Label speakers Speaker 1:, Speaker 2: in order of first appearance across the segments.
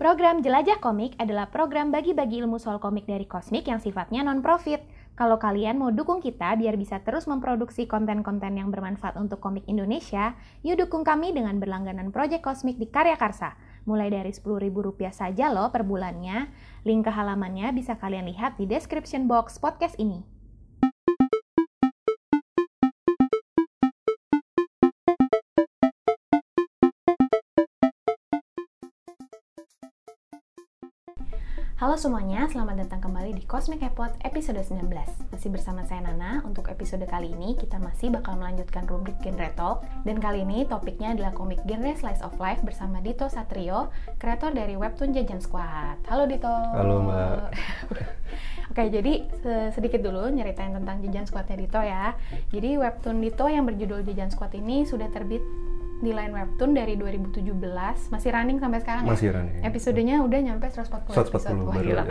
Speaker 1: Program Jelajah Komik adalah program bagi-bagi ilmu soal komik dari Kosmik yang sifatnya non-profit. Kalau kalian mau dukung kita biar bisa terus memproduksi konten-konten yang bermanfaat untuk komik Indonesia, yuk dukung kami dengan berlangganan Project Kosmik di Karya Karsa. Mulai dari Rp10.000 saja loh per bulannya. Link ke halamannya bisa kalian lihat di description box podcast ini. Halo semuanya, selamat datang kembali di Cosmic Epot episode 19. Masih bersama saya Nana, untuk episode kali ini kita masih bakal melanjutkan rubrik genre talk dan kali ini topiknya adalah komik genre slice of life bersama Dito Satrio, kreator dari webtoon Jajan Squad. Halo Dito.
Speaker 2: Halo, Mbak.
Speaker 1: Oke, jadi se- sedikit dulu nyeritain tentang Jajan Squadnya Dito ya. Jadi webtoon Dito yang berjudul Jajan Squad ini sudah terbit di line webtoon dari 2017, masih running sampai sekarang ya?
Speaker 2: Masih running.
Speaker 1: Episodenya udah nyampe 140 episode.
Speaker 2: 140
Speaker 1: Wah,
Speaker 2: baru
Speaker 1: gila.
Speaker 2: ya.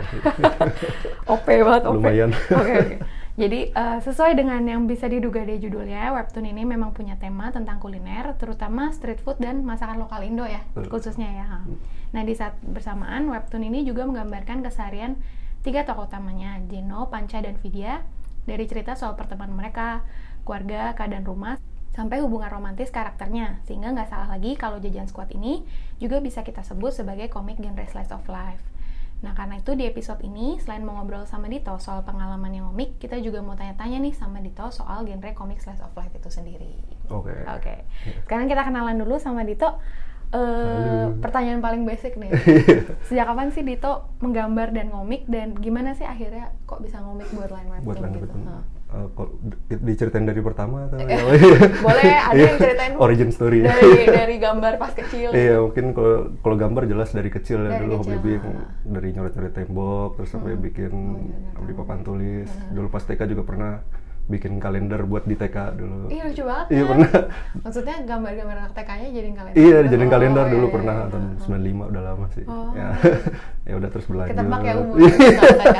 Speaker 1: OP banget, OP.
Speaker 2: Lumayan.
Speaker 1: Oke, oke. Jadi, eh, sesuai dengan yang bisa diduga dari judulnya, webtoon ini memang punya tema tentang kuliner, terutama street food dan masakan lokal Indo ya,
Speaker 2: Betul.
Speaker 1: khususnya ya. Nah, di saat bersamaan, webtoon ini juga menggambarkan keseharian tiga tokoh utamanya, Jeno, Panca, dan Vidya, dari cerita soal pertemanan mereka, keluarga, keadaan rumah, sampai hubungan romantis karakternya. Sehingga nggak salah lagi kalau Jajan Squad ini juga bisa kita sebut sebagai komik genre slice of life. Nah, karena itu di episode ini, selain mau ngobrol sama Dito soal pengalaman yang komik, kita juga mau tanya-tanya nih sama Dito soal genre komik slice of life itu sendiri.
Speaker 2: Oke.
Speaker 1: Oke, sekarang kita kenalan dulu sama Dito. Eh,
Speaker 2: Halo.
Speaker 1: pertanyaan paling basic nih. Sejak kapan sih Dito menggambar dan ngomik dan gimana sih akhirnya kok bisa ngomik buat line webtoon
Speaker 2: Buat lanjut
Speaker 1: gitu? Hah.
Speaker 2: Eh, kok di- diceritain dari pertama atau
Speaker 1: Eh,
Speaker 2: Iya,
Speaker 1: Boleh ada yang ceritain
Speaker 2: origin story ya.
Speaker 1: dari dari gambar pas kecil.
Speaker 2: Iya mungkin kalau kalau gambar jelas dari kecil ya
Speaker 1: Dari
Speaker 2: dulu
Speaker 1: kecil, Hmm. Oh,
Speaker 2: hobi bikin
Speaker 1: ah.
Speaker 2: dari nyoret-nyoret tembok terus sampai bikin
Speaker 1: nyoret
Speaker 2: di papan tulis dulu pas TK juga pernah bikin kalender buat di TK dulu
Speaker 1: Iya lucu banget.
Speaker 2: iya
Speaker 1: kan?
Speaker 2: pernah
Speaker 1: Maksudnya gambar-gambar anak TK-nya jadiin kalender. Oh,
Speaker 2: iya
Speaker 1: jadi
Speaker 2: jadiin kalender dulu pernah
Speaker 1: iya,
Speaker 2: tahun 95 udah lama sih
Speaker 1: Oh.
Speaker 2: ya ya udah terus Iya. belajar
Speaker 1: Ketebak ya umurnya kalau TK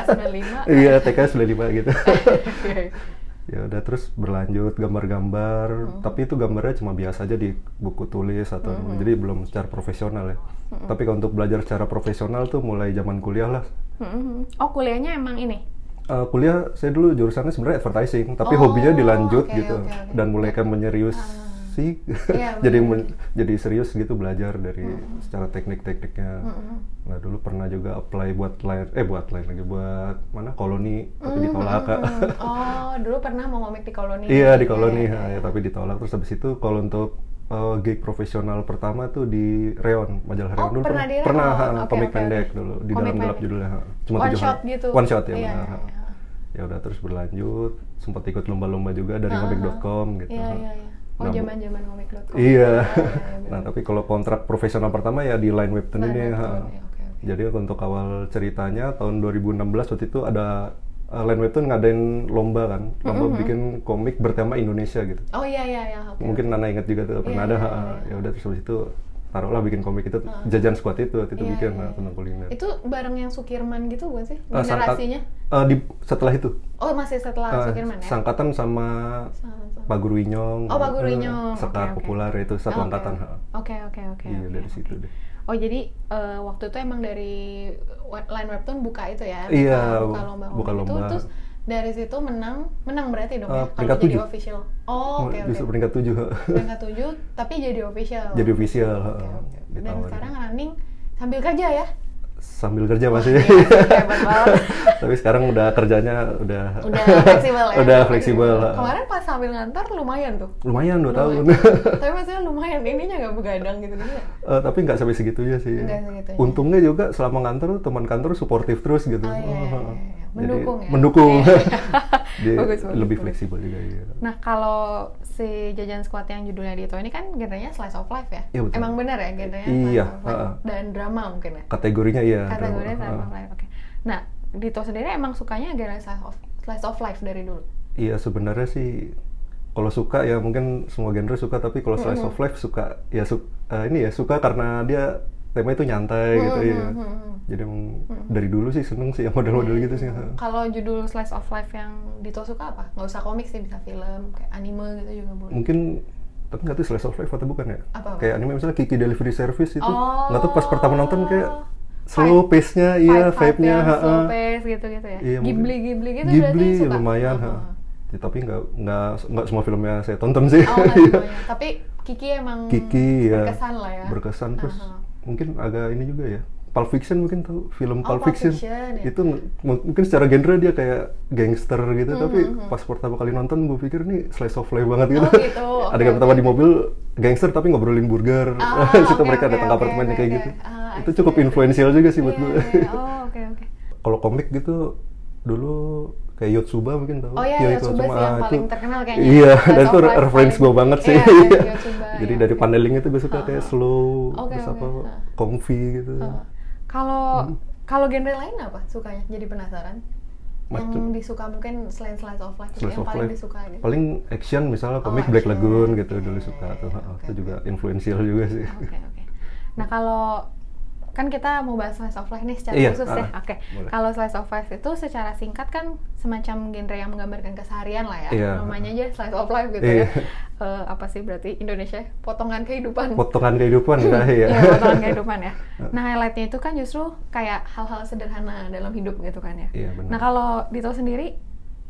Speaker 1: 95.
Speaker 2: iya TK 95 gitu
Speaker 1: Oke.
Speaker 2: ya udah terus berlanjut
Speaker 1: Oh.
Speaker 2: gambar-gambar tapi itu gambarnya cuma biasa aja di buku tulis atau
Speaker 1: Mm-hmm.
Speaker 2: jadi belum secara profesional ya tapi kalau untuk belajar secara profesional tuh mulai zaman kuliah lah
Speaker 1: Mm-mm. Oh kuliahnya emang ini?
Speaker 2: Eh, kuliah saya dulu jurusannya sebenarnya advertising tapi
Speaker 1: Oh,
Speaker 2: hobinya dilanjut
Speaker 1: oke,
Speaker 2: gitu
Speaker 1: oke, oke.
Speaker 2: dan mulai kayak menyeriusi
Speaker 1: Iya, Mm-hmm.
Speaker 2: jadi men- jadi serius gitu belajar dari secara teknik-tekniknya nah dulu pernah juga apply buat lain eh buat lain lagi buat mana koloni tapi
Speaker 1: Mm-hmm.
Speaker 2: ditolak Kak.
Speaker 1: Mm-mm. Oh dulu pernah mau ngomik di koloni.
Speaker 2: Iya di
Speaker 1: Iya,
Speaker 2: koloni,
Speaker 1: iya,
Speaker 2: ha,
Speaker 1: iya.
Speaker 2: ya, tapi ditolak. Terus habis itu kalau untuk eh, gig profesional pertama tuh di Reon, majalah
Speaker 1: Oh,
Speaker 2: Reon dulu.
Speaker 1: pernah di Reon.
Speaker 2: Pernah, ha,
Speaker 1: Oke,
Speaker 2: komik
Speaker 1: oke,
Speaker 2: pendek
Speaker 1: oke.
Speaker 2: dulu di
Speaker 1: Komik
Speaker 2: dalam gelap
Speaker 1: pendek.
Speaker 2: judulnya. ha.
Speaker 1: One
Speaker 2: tujuh
Speaker 1: shot
Speaker 2: hari.
Speaker 1: gitu.
Speaker 2: One shot ya.
Speaker 1: Iya,
Speaker 2: benar,
Speaker 1: iya,
Speaker 2: ha.
Speaker 1: iya.
Speaker 2: Ya udah terus berlanjut, sempat ikut lomba-lomba juga dari komik.com gitu.
Speaker 1: Iya
Speaker 2: ha.
Speaker 1: iya iya. Oh
Speaker 2: Nah, bu-
Speaker 1: zaman zaman ngomik.com.
Speaker 2: Iya.
Speaker 1: iya,
Speaker 2: nah, tapi kalau kontrak profesional pertama ya di Line Webtoon
Speaker 1: Line
Speaker 2: ini. ha.
Speaker 1: Webtoon, iya, oke, oke.
Speaker 2: Jadi untuk awal ceritanya tahun 2016 waktu itu ada eh, Line Webtoon ngadain lomba kan, lomba bikin komik bertema Indonesia gitu
Speaker 1: Oh iya iya iya. oke.
Speaker 2: mungkin Nana inget juga tuh pernah
Speaker 1: Iya,
Speaker 2: ada
Speaker 1: iya,
Speaker 2: ha, ya udah terus habis itu taruhlah bikin komik itu jajan squad itu waktu itu
Speaker 1: Iya,
Speaker 2: bikin
Speaker 1: iya,
Speaker 2: nah,
Speaker 1: iya.
Speaker 2: tentang kuliner.
Speaker 1: Itu bareng yang Sukirman gitu bukan sih?
Speaker 2: Eh, sangka-
Speaker 1: Generasinya?
Speaker 2: eh, di, setelah itu
Speaker 1: Oh masih setelah
Speaker 2: eh,
Speaker 1: Sukirman ya?
Speaker 2: sangkatan sama
Speaker 1: Sama- sama.
Speaker 2: Pak Guru Inyong.
Speaker 1: Oh, Pak Guru
Speaker 2: eh,
Speaker 1: Inyong. Oke,
Speaker 2: Sekar
Speaker 1: oke.
Speaker 2: populer itu satu
Speaker 1: Oh, oke.
Speaker 2: angkatan. ha.
Speaker 1: Oke oke oke.
Speaker 2: iya
Speaker 1: oke,
Speaker 2: dari
Speaker 1: oke.
Speaker 2: situ deh.
Speaker 1: Oh jadi eh, waktu itu emang dari web- line webtoon buka itu ya? Buka,
Speaker 2: Iya,
Speaker 1: buka lomba
Speaker 2: buka
Speaker 1: komik itu,
Speaker 2: lomba.
Speaker 1: terus dari situ menang, menang berarti dong
Speaker 2: Eh,
Speaker 1: ya? Kalau
Speaker 2: peringkat
Speaker 1: jadi
Speaker 2: tujuh.
Speaker 1: official. Oh oke
Speaker 2: Justru
Speaker 1: oke.
Speaker 2: peringkat tujuh. ha.
Speaker 1: Peringkat tujuh, tapi jadi official.
Speaker 2: Jadi official. ha,
Speaker 1: Oke, Iya, oke. Dan
Speaker 2: ditawarin.
Speaker 1: sekarang running sambil kerja ya?
Speaker 2: sambil kerja
Speaker 1: Oh,
Speaker 2: masih.
Speaker 1: iya. Hebat banget.
Speaker 2: Tapi sekarang udah kerjanya udah
Speaker 1: Udah fleksibel ya?
Speaker 2: Udah fleksibel. ha.
Speaker 1: Kemarin pas sambil ngantor lumayan tuh.
Speaker 2: Lumayan dua tahun.
Speaker 1: Tapi maksudnya lumayan, ininya nggak begadang gitu gitu. ya?
Speaker 2: Eh, tapi nggak sampai segitunya sih.
Speaker 1: Nggak segitunya.
Speaker 2: Untungnya juga selama kantor tuh teman kantor suportif terus gitu.
Speaker 1: Oh, iya, iya, iya, iya.
Speaker 2: Jadi,
Speaker 1: Mendukung ya?
Speaker 2: Mendukung.
Speaker 1: Iya.
Speaker 2: Dia
Speaker 1: Bagus, bagus,
Speaker 2: lebih
Speaker 1: bagus.
Speaker 2: fleksibel juga iya.
Speaker 1: Nah, kalau si Jajan Squad yang judulnya Dito ini kan genrenya slice of life ya?
Speaker 2: Iya, betul.
Speaker 1: Emang benar ya genrenya
Speaker 2: Iya,
Speaker 1: slice of life?
Speaker 2: ha-ha.
Speaker 1: Dan drama mungkin ya?
Speaker 2: Kategorinya iya.
Speaker 1: Kategorinya
Speaker 2: drama.
Speaker 1: slice
Speaker 2: Ah.
Speaker 1: of life, oke. Nah, Dito sendiri emang sukanya genre slice of, slice of life dari dulu?
Speaker 2: Iya sebenarnya sih kalau suka ya mungkin semua genre suka tapi kalau slice of life suka ya su- eh, ini ya suka karena dia tema itu nyantai gitu
Speaker 1: Oh,
Speaker 2: iya.
Speaker 1: hmm,
Speaker 2: Jadi emang dari dulu sih seneng sih yang model-model gitu
Speaker 1: Iya,
Speaker 2: sih.
Speaker 1: Kalau judul slice of life yang Dito suka apa? Nggak usah komik sih, bisa film, kayak anime gitu juga boleh.
Speaker 2: mungkin tapi nggak tahu slice of life atau bukan ya
Speaker 1: Apa?
Speaker 2: kayak anime misalnya Kiki Delivery Service itu
Speaker 1: Oh.
Speaker 2: nggak tahu pas pertama nonton kayak slow pace-nya, iya, vibe-nya,
Speaker 1: yang slow
Speaker 2: ha-ha.
Speaker 1: pace gitu-gitu ya.
Speaker 2: Iya, mungkin.
Speaker 1: Ghibli Ghibli gitu berarti
Speaker 2: Ghibli
Speaker 1: suka.
Speaker 2: lumayan,
Speaker 1: Oh,
Speaker 2: ha.
Speaker 1: oh.
Speaker 2: Ya, tapi nggak nggak nggak semua filmnya saya tonton sih.
Speaker 1: Oh, nggak
Speaker 2: Iya.
Speaker 1: semuanya. Tapi Kiki emang
Speaker 2: Kiki ya.
Speaker 1: berkesan lah ya.
Speaker 2: Berkesan terus
Speaker 1: Aha.
Speaker 2: mungkin agak ini juga ya. Pulp Fiction mungkin tahu film
Speaker 1: Oh,
Speaker 2: Pulp
Speaker 1: Pulp
Speaker 2: Fiction.
Speaker 1: Fiction, ya.
Speaker 2: Itu m- mungkin secara genre dia kayak gangster gitu, tapi
Speaker 1: mhm.
Speaker 2: pas pertama kali nonton gue pikir nih slice of life banget gitu.
Speaker 1: Oh, gitu. Oke,
Speaker 2: Adegan pertama
Speaker 1: oke.
Speaker 2: di mobil gangster tapi ngobrolin burger.
Speaker 1: Ah,
Speaker 2: Terus itu
Speaker 1: oke,
Speaker 2: mereka
Speaker 1: oke,
Speaker 2: datang
Speaker 1: oke,
Speaker 2: ke apartemen
Speaker 1: oke,
Speaker 2: kayak
Speaker 1: oke.
Speaker 2: gitu.
Speaker 1: Ah, I
Speaker 2: itu
Speaker 1: see,
Speaker 2: cukup
Speaker 1: I see.
Speaker 2: influensial juga sih buat
Speaker 1: Iya,
Speaker 2: gue.
Speaker 1: iya. Oh, oke oke.
Speaker 2: Kalau komik gitu dulu kayak Yotsuba mungkin tahu.
Speaker 1: Oh iya, Yotsuba
Speaker 2: Kyo
Speaker 1: sih
Speaker 2: Iwatsuba,
Speaker 1: yang
Speaker 2: ah,
Speaker 1: paling
Speaker 2: itu-
Speaker 1: terkenal kayaknya.
Speaker 2: Iya,
Speaker 1: Slice
Speaker 2: dan
Speaker 1: of
Speaker 2: itu
Speaker 1: life
Speaker 2: reference
Speaker 1: paling-
Speaker 2: gue banget sih.
Speaker 1: Iya, iya, Yotsuba,
Speaker 2: Jadi
Speaker 1: iya,
Speaker 2: dari
Speaker 1: oke.
Speaker 2: paneling itu gue suka
Speaker 1: Ha,
Speaker 2: kayak
Speaker 1: ha.
Speaker 2: slow,
Speaker 1: Oke,
Speaker 2: terus
Speaker 1: oke,
Speaker 2: apa,
Speaker 1: ha.
Speaker 2: comfy gitu.
Speaker 1: Uh, Kalau
Speaker 2: Hmm.
Speaker 1: kalau genre lain apa sukanya? Jadi penasaran.
Speaker 2: Macem-
Speaker 1: Yang disuka mungkin selain slice of life, gitu,
Speaker 2: Slice
Speaker 1: yang
Speaker 2: of
Speaker 1: paling
Speaker 2: life.
Speaker 1: disuka gitu.
Speaker 2: Paling action misalnya
Speaker 1: Oh,
Speaker 2: komik Black
Speaker 1: action.
Speaker 2: Lagoon gitu
Speaker 1: Iya,
Speaker 2: dulu
Speaker 1: iya,
Speaker 2: suka
Speaker 1: iya,
Speaker 2: tuh.
Speaker 1: iya,
Speaker 2: ha,
Speaker 1: oke,
Speaker 2: Itu
Speaker 1: oke.
Speaker 2: juga influensial juga sih.
Speaker 1: Oke oke. Nah kalau kan kita mau bahas slice of life nih secara
Speaker 2: Iya,
Speaker 1: khusus ya.
Speaker 2: ah,
Speaker 1: Oke.
Speaker 2: boleh.
Speaker 1: Kalau slice of life itu secara singkat kan semacam genre yang menggambarkan keseharian lah ya.
Speaker 2: Iya.
Speaker 1: Namanya aja slice of life gitu ya.
Speaker 2: Iya.
Speaker 1: Eh, apa sih berarti Indonesia? Potongan kehidupan.
Speaker 2: Potongan kehidupan udah ya.
Speaker 1: Iya, potongan kehidupan ya. Nah, highlightnya itu kan justru kayak hal-hal sederhana dalam hidup gitu kan ya.
Speaker 2: Iya,
Speaker 1: Nah,
Speaker 2: benar.
Speaker 1: kalau Dito sendiri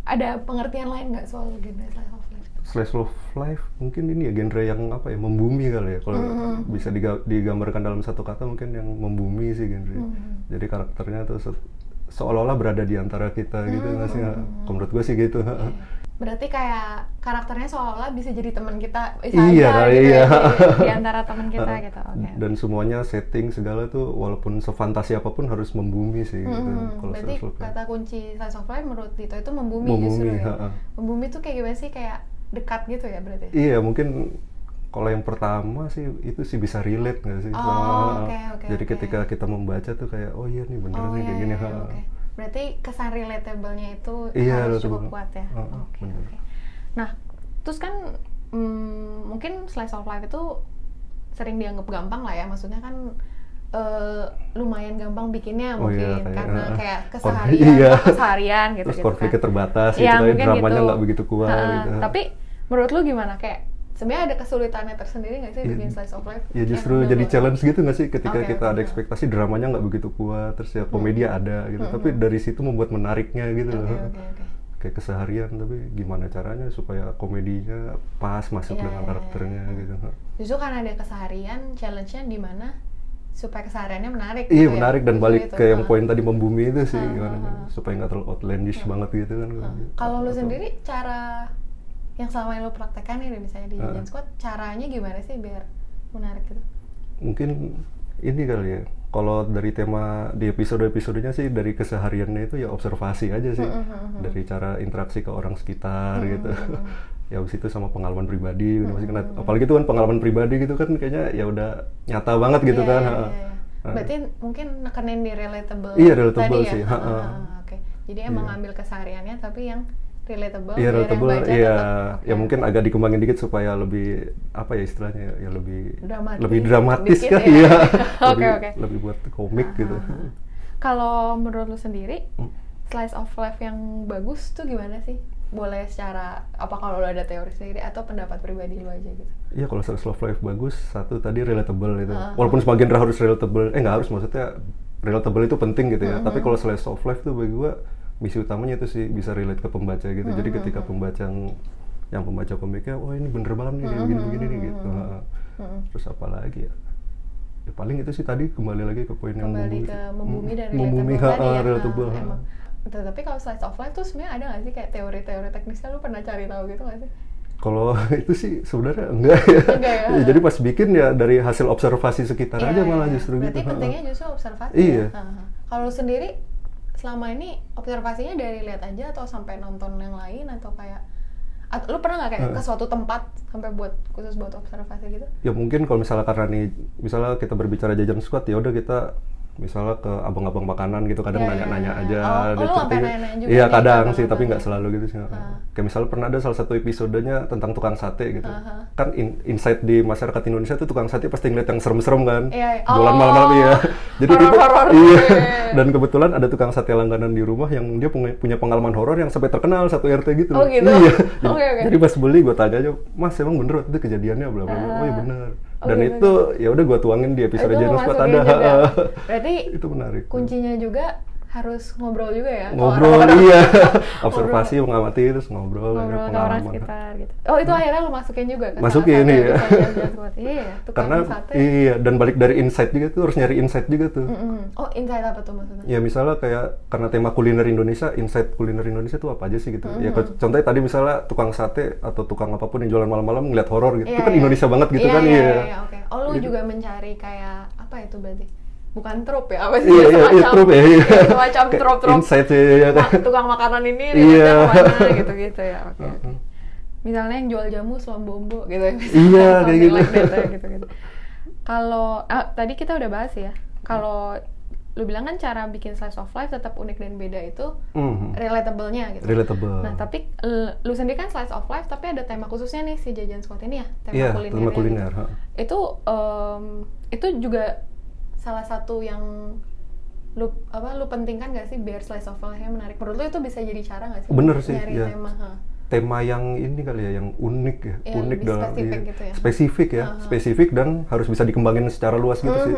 Speaker 1: ada pengertian lain nggak soal genre slice of life?
Speaker 2: Slice of life mungkin ini ya genre yang apa ya membumi kali ya kalau
Speaker 1: Mm-hmm.
Speaker 2: bisa diga- digambarkan dalam satu kata mungkin yang membumi sih genre.
Speaker 1: Mm-hmm.
Speaker 2: Jadi karakternya tuh se- seolah-olah berada di antara kita gitu nggak sih?
Speaker 1: Mm-hmm.
Speaker 2: Kalau Menurut gue sih gitu.
Speaker 1: Iya, Berarti kayak karakternya seolah-olah bisa jadi teman kita eh,
Speaker 2: Iya,
Speaker 1: saja
Speaker 2: kali,
Speaker 1: gitu ya,
Speaker 2: iya.
Speaker 1: di- di antara teman kita
Speaker 2: Uh,
Speaker 1: gitu. Oke.
Speaker 2: Dan semuanya setting segala tuh walaupun sefantasi apapun harus membumi sih gitu.
Speaker 1: Mhm.
Speaker 2: Kalau
Speaker 1: Berarti
Speaker 2: slice of life.
Speaker 1: kata kunci slice of life menurut Dito itu membumi, justru
Speaker 2: membumi.
Speaker 1: ya.
Speaker 2: ha-ha.
Speaker 1: Membumi tuh kayak gimana sih? Kayak dekat gitu ya berarti.
Speaker 2: Iya mungkin kalau yang pertama sih itu sih bisa relate nggak sih?
Speaker 1: Oh,
Speaker 2: sama-
Speaker 1: oke, oke,
Speaker 2: Jadi
Speaker 1: oke.
Speaker 2: ketika kita membaca tuh kayak oh iya nih bener nih
Speaker 1: iya,
Speaker 2: kayak gini.
Speaker 1: iya,
Speaker 2: ha.
Speaker 1: iya, oke. Berarti kesan relatable-nya itu
Speaker 2: Iya,
Speaker 1: harus
Speaker 2: relatable.
Speaker 1: cukup kuat ya.
Speaker 2: Heeh,
Speaker 1: Oke,
Speaker 2: bener.
Speaker 1: oke. Nah, terus kan mm, mungkin slice of life itu sering dianggap gampang lah ya. Maksudnya kan eh, lumayan gampang bikinnya
Speaker 2: Oh iya,
Speaker 1: mungkin
Speaker 2: kayak,
Speaker 1: karena
Speaker 2: eh,
Speaker 1: kayak
Speaker 2: konflik,
Speaker 1: keseharian,
Speaker 2: iya.
Speaker 1: keseharian gitu
Speaker 2: Terus
Speaker 1: gitu
Speaker 2: konfliknya terbatas
Speaker 1: Iya,
Speaker 2: gitu,
Speaker 1: mungkin
Speaker 2: dramanya
Speaker 1: gitu.
Speaker 2: nggak begitu kuat.
Speaker 1: Heeh,
Speaker 2: gitu.
Speaker 1: Tapi menurut lu gimana kayak sebenarnya ada kesulitannya tersendiri nggak sih
Speaker 2: Iya.
Speaker 1: bikin slice of life? yang
Speaker 2: ya justru
Speaker 1: double?
Speaker 2: jadi challenge gitu nggak sih ketika
Speaker 1: Oke,
Speaker 2: kita
Speaker 1: oke,
Speaker 2: ada
Speaker 1: oke.
Speaker 2: ekspektasi dramanya nggak begitu kuat terus ya komedi ada gitu tapi dari situ membuat menariknya gitu
Speaker 1: Hmm, Oke,
Speaker 2: loh
Speaker 1: oke, oke.
Speaker 2: kayak keseharian tapi gimana caranya supaya komedinya pas
Speaker 1: Iya,
Speaker 2: masuk dengan
Speaker 1: iya, iya.
Speaker 2: karakternya gitu
Speaker 1: justru karena ada keseharian challenge-nya di mana supaya kesehariannya menarik
Speaker 2: iya
Speaker 1: gitu ya.
Speaker 2: menarik dan
Speaker 1: Justru
Speaker 2: balik
Speaker 1: itu.
Speaker 2: ke yang
Speaker 1: Ah.
Speaker 2: poin tadi membumi itu sih
Speaker 1: Ah,
Speaker 2: gimana
Speaker 1: ah, ah.
Speaker 2: supaya nggak terlalu outlandish banget gitu kan
Speaker 1: Ah. kalau lu sendiri cara yang selama ini lu praktekkan nih misalnya di
Speaker 2: Ah.
Speaker 1: Jajan Squad caranya gimana sih biar menarik gitu
Speaker 2: mungkin ini kali ya kalau dari tema di episode episodenya sih dari kesehariannya itu ya observasi aja sih
Speaker 1: Mm, mm, mm, mm.
Speaker 2: dari cara interaksi ke orang sekitar
Speaker 1: Mm,
Speaker 2: gitu
Speaker 1: mm, mm, mm.
Speaker 2: ya abis itu sama pengalaman pribadi gitu masih kena
Speaker 1: Mm-hmm.
Speaker 2: apalagi itu kan pengalaman pribadi gitu kan kayaknya ya udah nyata banget gitu
Speaker 1: Iya,
Speaker 2: kan
Speaker 1: iya,
Speaker 2: ha.
Speaker 1: iya, iya.
Speaker 2: Ah.
Speaker 1: berarti mungkin nekenin di relatable
Speaker 2: Iya, relatable
Speaker 1: tadi
Speaker 2: sih,
Speaker 1: ya?
Speaker 2: ha,
Speaker 1: Ah, ah,
Speaker 2: ah.
Speaker 1: ah, oke jadi emang
Speaker 2: Iya.
Speaker 1: ngambil kesehariannya tapi yang relatable
Speaker 2: Iya
Speaker 1: biar yang
Speaker 2: relatable,
Speaker 1: baca
Speaker 2: iya,
Speaker 1: tetap- oke.
Speaker 2: ya mungkin agak dikembangin dikit supaya lebih apa ya istilahnya ya lebih
Speaker 1: Dramatis
Speaker 2: lebih dramatis
Speaker 1: dikit
Speaker 2: kan,
Speaker 1: ya.
Speaker 2: iya,
Speaker 1: Oke,
Speaker 2: lebih,
Speaker 1: oke.
Speaker 2: lebih buat komik gitu.
Speaker 1: Kalau menurut lu sendiri,
Speaker 2: Hmm.
Speaker 1: slice of life yang bagus tuh gimana sih? Boleh secara apa kalau lu ada teori sendiri atau pendapat pribadi lu aja gitu?
Speaker 2: Iya kalau slice of life bagus, satu tadi relatable itu.
Speaker 1: Ah.
Speaker 2: Walaupun sebagian genre harus relatable, eh nggak harus maksudnya relatable itu penting gitu ya. Tapi kalau slice of life tuh bagi gua misi utamanya itu sih bisa relate ke pembaca gitu. Jadi ketika pembaca yang, yang pembaca komiknya, wah ini bener banget nih kayak begini-begini nih gitu. Ha.
Speaker 1: Mm-mm.
Speaker 2: Terus apa lagi ya? Ya paling itu sih tadi kembali lagi ke poin yang
Speaker 1: Kembali
Speaker 2: membumi
Speaker 1: ke
Speaker 2: sih.
Speaker 1: membumi dan
Speaker 2: Mm, membumi,
Speaker 1: relatable tadi
Speaker 2: ha,
Speaker 1: ya.
Speaker 2: relatable.
Speaker 1: Ah,
Speaker 2: ha.
Speaker 1: emang. Tetapi kalau slice of life tuh sebenarnya ada nggak sih kayak teori-teori teknisnya lu pernah cari tahu gitu nggak sih?
Speaker 2: Kalau itu sih sebenarnya enggak ya.
Speaker 1: Enggak ya?
Speaker 2: Jadi pas bikin ya dari hasil observasi sekitar
Speaker 1: Iya,
Speaker 2: aja malah
Speaker 1: iya.
Speaker 2: justru
Speaker 1: Berarti
Speaker 2: gitu. ha.
Speaker 1: pentingnya justru observasi.
Speaker 2: Iya.
Speaker 1: Ya? Ah. Kalau lu sendiri selama ini observasinya dari lihat aja atau sampai nonton yang lain atau kayak at- lu pernah nggak kayak
Speaker 2: Eh.
Speaker 1: ke suatu tempat sampai buat khusus buat observasi gitu?
Speaker 2: ya mungkin kalau misalnya karena nih misalnya kita berbicara jajan squad ya udah kita misalnya ke abang-abang makanan gitu kadang
Speaker 1: Ya, ya,
Speaker 2: nanya-nanya
Speaker 1: ya.
Speaker 2: aja
Speaker 1: Oh, oh, lu
Speaker 2: dia
Speaker 1: sampai
Speaker 2: cerita-
Speaker 1: nanya-nanya juga
Speaker 2: iya
Speaker 1: nih Ah. ke
Speaker 2: kadang sih
Speaker 1: abang-abang.
Speaker 2: tapi nggak selalu gitu sih kayak misalnya pernah ada salah satu episodenya tentang tukang sate gitu
Speaker 1: Aha.
Speaker 2: kan in- insight di masyarakat Indonesia tuh tukang sate pasti ngeliat yang serem-serem kan
Speaker 1: Iya, iya.
Speaker 2: jualan
Speaker 1: Oh,
Speaker 2: malam-malam iya jadi dia tuh-
Speaker 1: horor-horor.
Speaker 2: iya
Speaker 1: Iya, iya, iya.
Speaker 2: dan kebetulan ada tukang sate langganan di rumah yang dia punya, punya pengalaman horor yang sampai terkenal satu RT gitu
Speaker 1: Oh,
Speaker 2: loh.
Speaker 1: gitu?
Speaker 2: iya
Speaker 1: Oke, oke.
Speaker 2: jadi pas beli gue tanya aja mas emang bener waktu itu kejadiannya bla bla bla oh iya
Speaker 1: Ah.
Speaker 2: bener dan
Speaker 1: bener-bener.
Speaker 2: itu ya udah gua tuangin di episode
Speaker 1: Itu
Speaker 2: Janus Squad
Speaker 1: memasukin
Speaker 2: ada
Speaker 1: juga. Berarti
Speaker 2: itu menarik
Speaker 1: kuncinya juga harus ngobrol juga ya. kalau
Speaker 2: ngobrol
Speaker 1: orang-orang-
Speaker 2: iya observasi mengamati terus ngobrol, ada
Speaker 1: ngobrol ke orang
Speaker 2: pengalaman
Speaker 1: sekitar gitu. Oh itu akhirnya lu masukin juga ke
Speaker 2: Masukin,
Speaker 1: salah satu
Speaker 2: iya.
Speaker 1: episode Just What- Iya, tukang
Speaker 2: karena
Speaker 1: sate.
Speaker 2: iya dan balik dari insight juga tuh harus nyari insight juga tuh
Speaker 1: Mm-mm. Oh insight apa tuh maksudnya?
Speaker 2: ya misalnya kayak karena tema kuliner Indonesia insight kuliner Indonesia tuh apa aja sih gitu ya ke- contohnya tadi misalnya tukang sate atau tukang apapun yang jualan malam-malam ngeliat horor gitu
Speaker 1: Iya,
Speaker 2: itu kan
Speaker 1: iya.
Speaker 2: Indonesia banget gitu
Speaker 1: Iya,
Speaker 2: kan
Speaker 1: Iya,
Speaker 2: iya
Speaker 1: iya, iya, oke. Oh lu
Speaker 2: Gitu.
Speaker 1: juga mencari kayak apa itu berarti? Bukan trop ya apa sih?
Speaker 2: iya iya iya
Speaker 1: Semacam-
Speaker 2: trup ya iya.
Speaker 1: Semacam
Speaker 2: Kayak
Speaker 1: trop-trop.
Speaker 2: insight ya iya, iya, kan.
Speaker 1: Nah, tukang makanan ini
Speaker 2: Iya.
Speaker 1: lihatnya kemana gitu-gitu ya. Oke. oke.
Speaker 2: Heeh.
Speaker 1: Misalnya yang jual jamu suam bombo gitu ya.
Speaker 2: Iya, kayak
Speaker 1: Something
Speaker 2: gitu.
Speaker 1: like that ya, gitu-gitu. Kalau ah, tadi kita udah bahas ya. Kalau lu bilang kan cara bikin slice of life tetap unik dan beda itu
Speaker 2: Mhm.
Speaker 1: relatable-nya gitu.
Speaker 2: relatable
Speaker 1: Nah, tapi l- lu sendiri kan slice of life tapi ada tema khususnya nih si Jajan Squad ini ya, tema
Speaker 2: iya
Speaker 1: kuliner.
Speaker 2: tema kuliner ha.
Speaker 1: Itu em, itu juga salah satu yang lu apa lu pentingkan gak sih biar slice of life-nya menarik? Menurut lu itu bisa jadi cara gak sih?
Speaker 2: Bener sih,
Speaker 1: Nyari
Speaker 2: iya.
Speaker 1: tema, ha.
Speaker 2: tema yang ini kali ya yang unik ya,
Speaker 1: Iya,
Speaker 2: unik
Speaker 1: lebih spesifik
Speaker 2: iya.
Speaker 1: gitu ya.
Speaker 2: spesifik ya spesifik dan harus bisa dikembangin secara luas gitu sih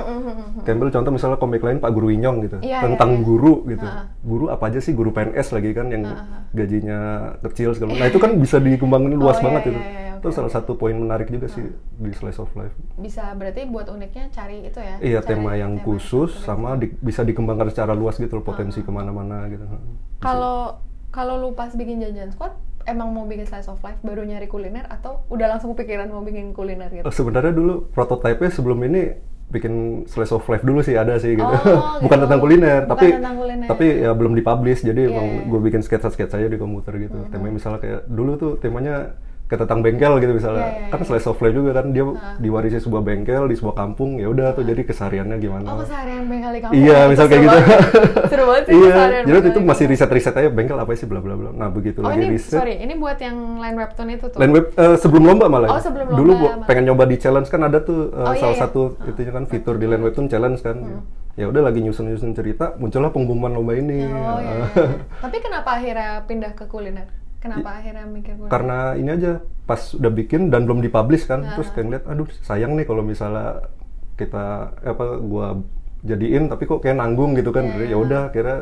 Speaker 2: Campbell contoh misalnya komik lain Pak Guru Inyong gitu
Speaker 1: Mm-hmm, Iya, iya,
Speaker 2: tentang
Speaker 1: iya.
Speaker 2: guru gitu
Speaker 1: Ha.
Speaker 2: guru apa aja sih guru PNS lagi kan yang gajinya kecil segala nah itu kan bisa dikembangin
Speaker 1: Uh-huh. Oh,
Speaker 2: luas
Speaker 1: iya,
Speaker 2: banget
Speaker 1: iya,
Speaker 2: itu
Speaker 1: iya, iya, oke,
Speaker 2: itu salah
Speaker 1: oke. Uh-huh.
Speaker 2: satu poin menarik juga sih di slice of life
Speaker 1: Bisa berarti buat uniknya cari itu ya.
Speaker 2: iya
Speaker 1: cari
Speaker 2: tema yang khusus
Speaker 1: unik.
Speaker 2: sama di- bisa dikembangkan secara luas gitu loh, potensi kemana-mana gitu
Speaker 1: Uh-huh. Kalau kalau lu pas bikin jajan squad emang mau bikin slice of life baru nyari kuliner atau udah langsung kepikiran mau bikin kuliner gitu?
Speaker 2: Eh, sebenarnya dulu prototipe sebelum ini bikin slice of life dulu sih ada sih gitu.
Speaker 1: Oh,
Speaker 2: Bukan
Speaker 1: gitu.
Speaker 2: tentang kuliner,
Speaker 1: Bukan
Speaker 2: tapi
Speaker 1: tentang kuliner.
Speaker 2: tapi ya belum dipublish jadi emang
Speaker 1: iya. Hmm.
Speaker 2: gue bikin sketsa-sketsa aja di komputer gitu. Temanya misalnya kayak dulu tuh temanya kayak tentang bengkel gitu misalnya.
Speaker 1: Iya, iya,
Speaker 2: Kan
Speaker 1: iya.
Speaker 2: slice of life juga kan dia diwarisi sebuah bengkel di sebuah kampung ya udah tuh jadi kesehariannya gimana.
Speaker 1: Oh, keseharian bengkel di kampung.
Speaker 2: Nah. Iya,
Speaker 1: Itu
Speaker 2: misal kayak
Speaker 1: Oh, seru
Speaker 2: gitu.
Speaker 1: banget. seru banget sih keseharian
Speaker 2: iya, jadi waktu
Speaker 1: bengkel
Speaker 2: itu
Speaker 1: di
Speaker 2: masih
Speaker 1: kampung.
Speaker 2: riset-riset aja bengkel apa sih bla bla bla. Nah, begitu
Speaker 1: Oh,
Speaker 2: lagi
Speaker 1: ini
Speaker 2: riset.
Speaker 1: sorry, ini buat yang line webtoon itu tuh.
Speaker 2: Lain web eh, sebelum lomba malah.
Speaker 1: Gitu. Oh, sebelum
Speaker 2: Dulu
Speaker 1: lomba
Speaker 2: gua
Speaker 1: malah.
Speaker 2: pengen nyoba di challenge kan ada tuh
Speaker 1: Oh,
Speaker 2: eh,
Speaker 1: iya, Hmm.
Speaker 2: salah
Speaker 1: iya.
Speaker 2: satu itunya kan fitur di lain webtoon challenge kan. Ya udah lagi nyusun-nyusun cerita, muncullah pengumuman lomba ini.
Speaker 1: Oh, iya, iya.
Speaker 2: Eh,
Speaker 1: Tapi kenapa akhirnya pindah ke kuliner? Kenapa akhirnya mikir kuliner?
Speaker 2: Karena ini aja pas udah bikin dan belum dipublish kan,
Speaker 1: Ah.
Speaker 2: terus kayak ngeliat aduh sayang nih kalau misalnya kita apa gua jadiin tapi kok kayak nanggung gitu kan.
Speaker 1: Iya.
Speaker 2: Jadi Ya udah kira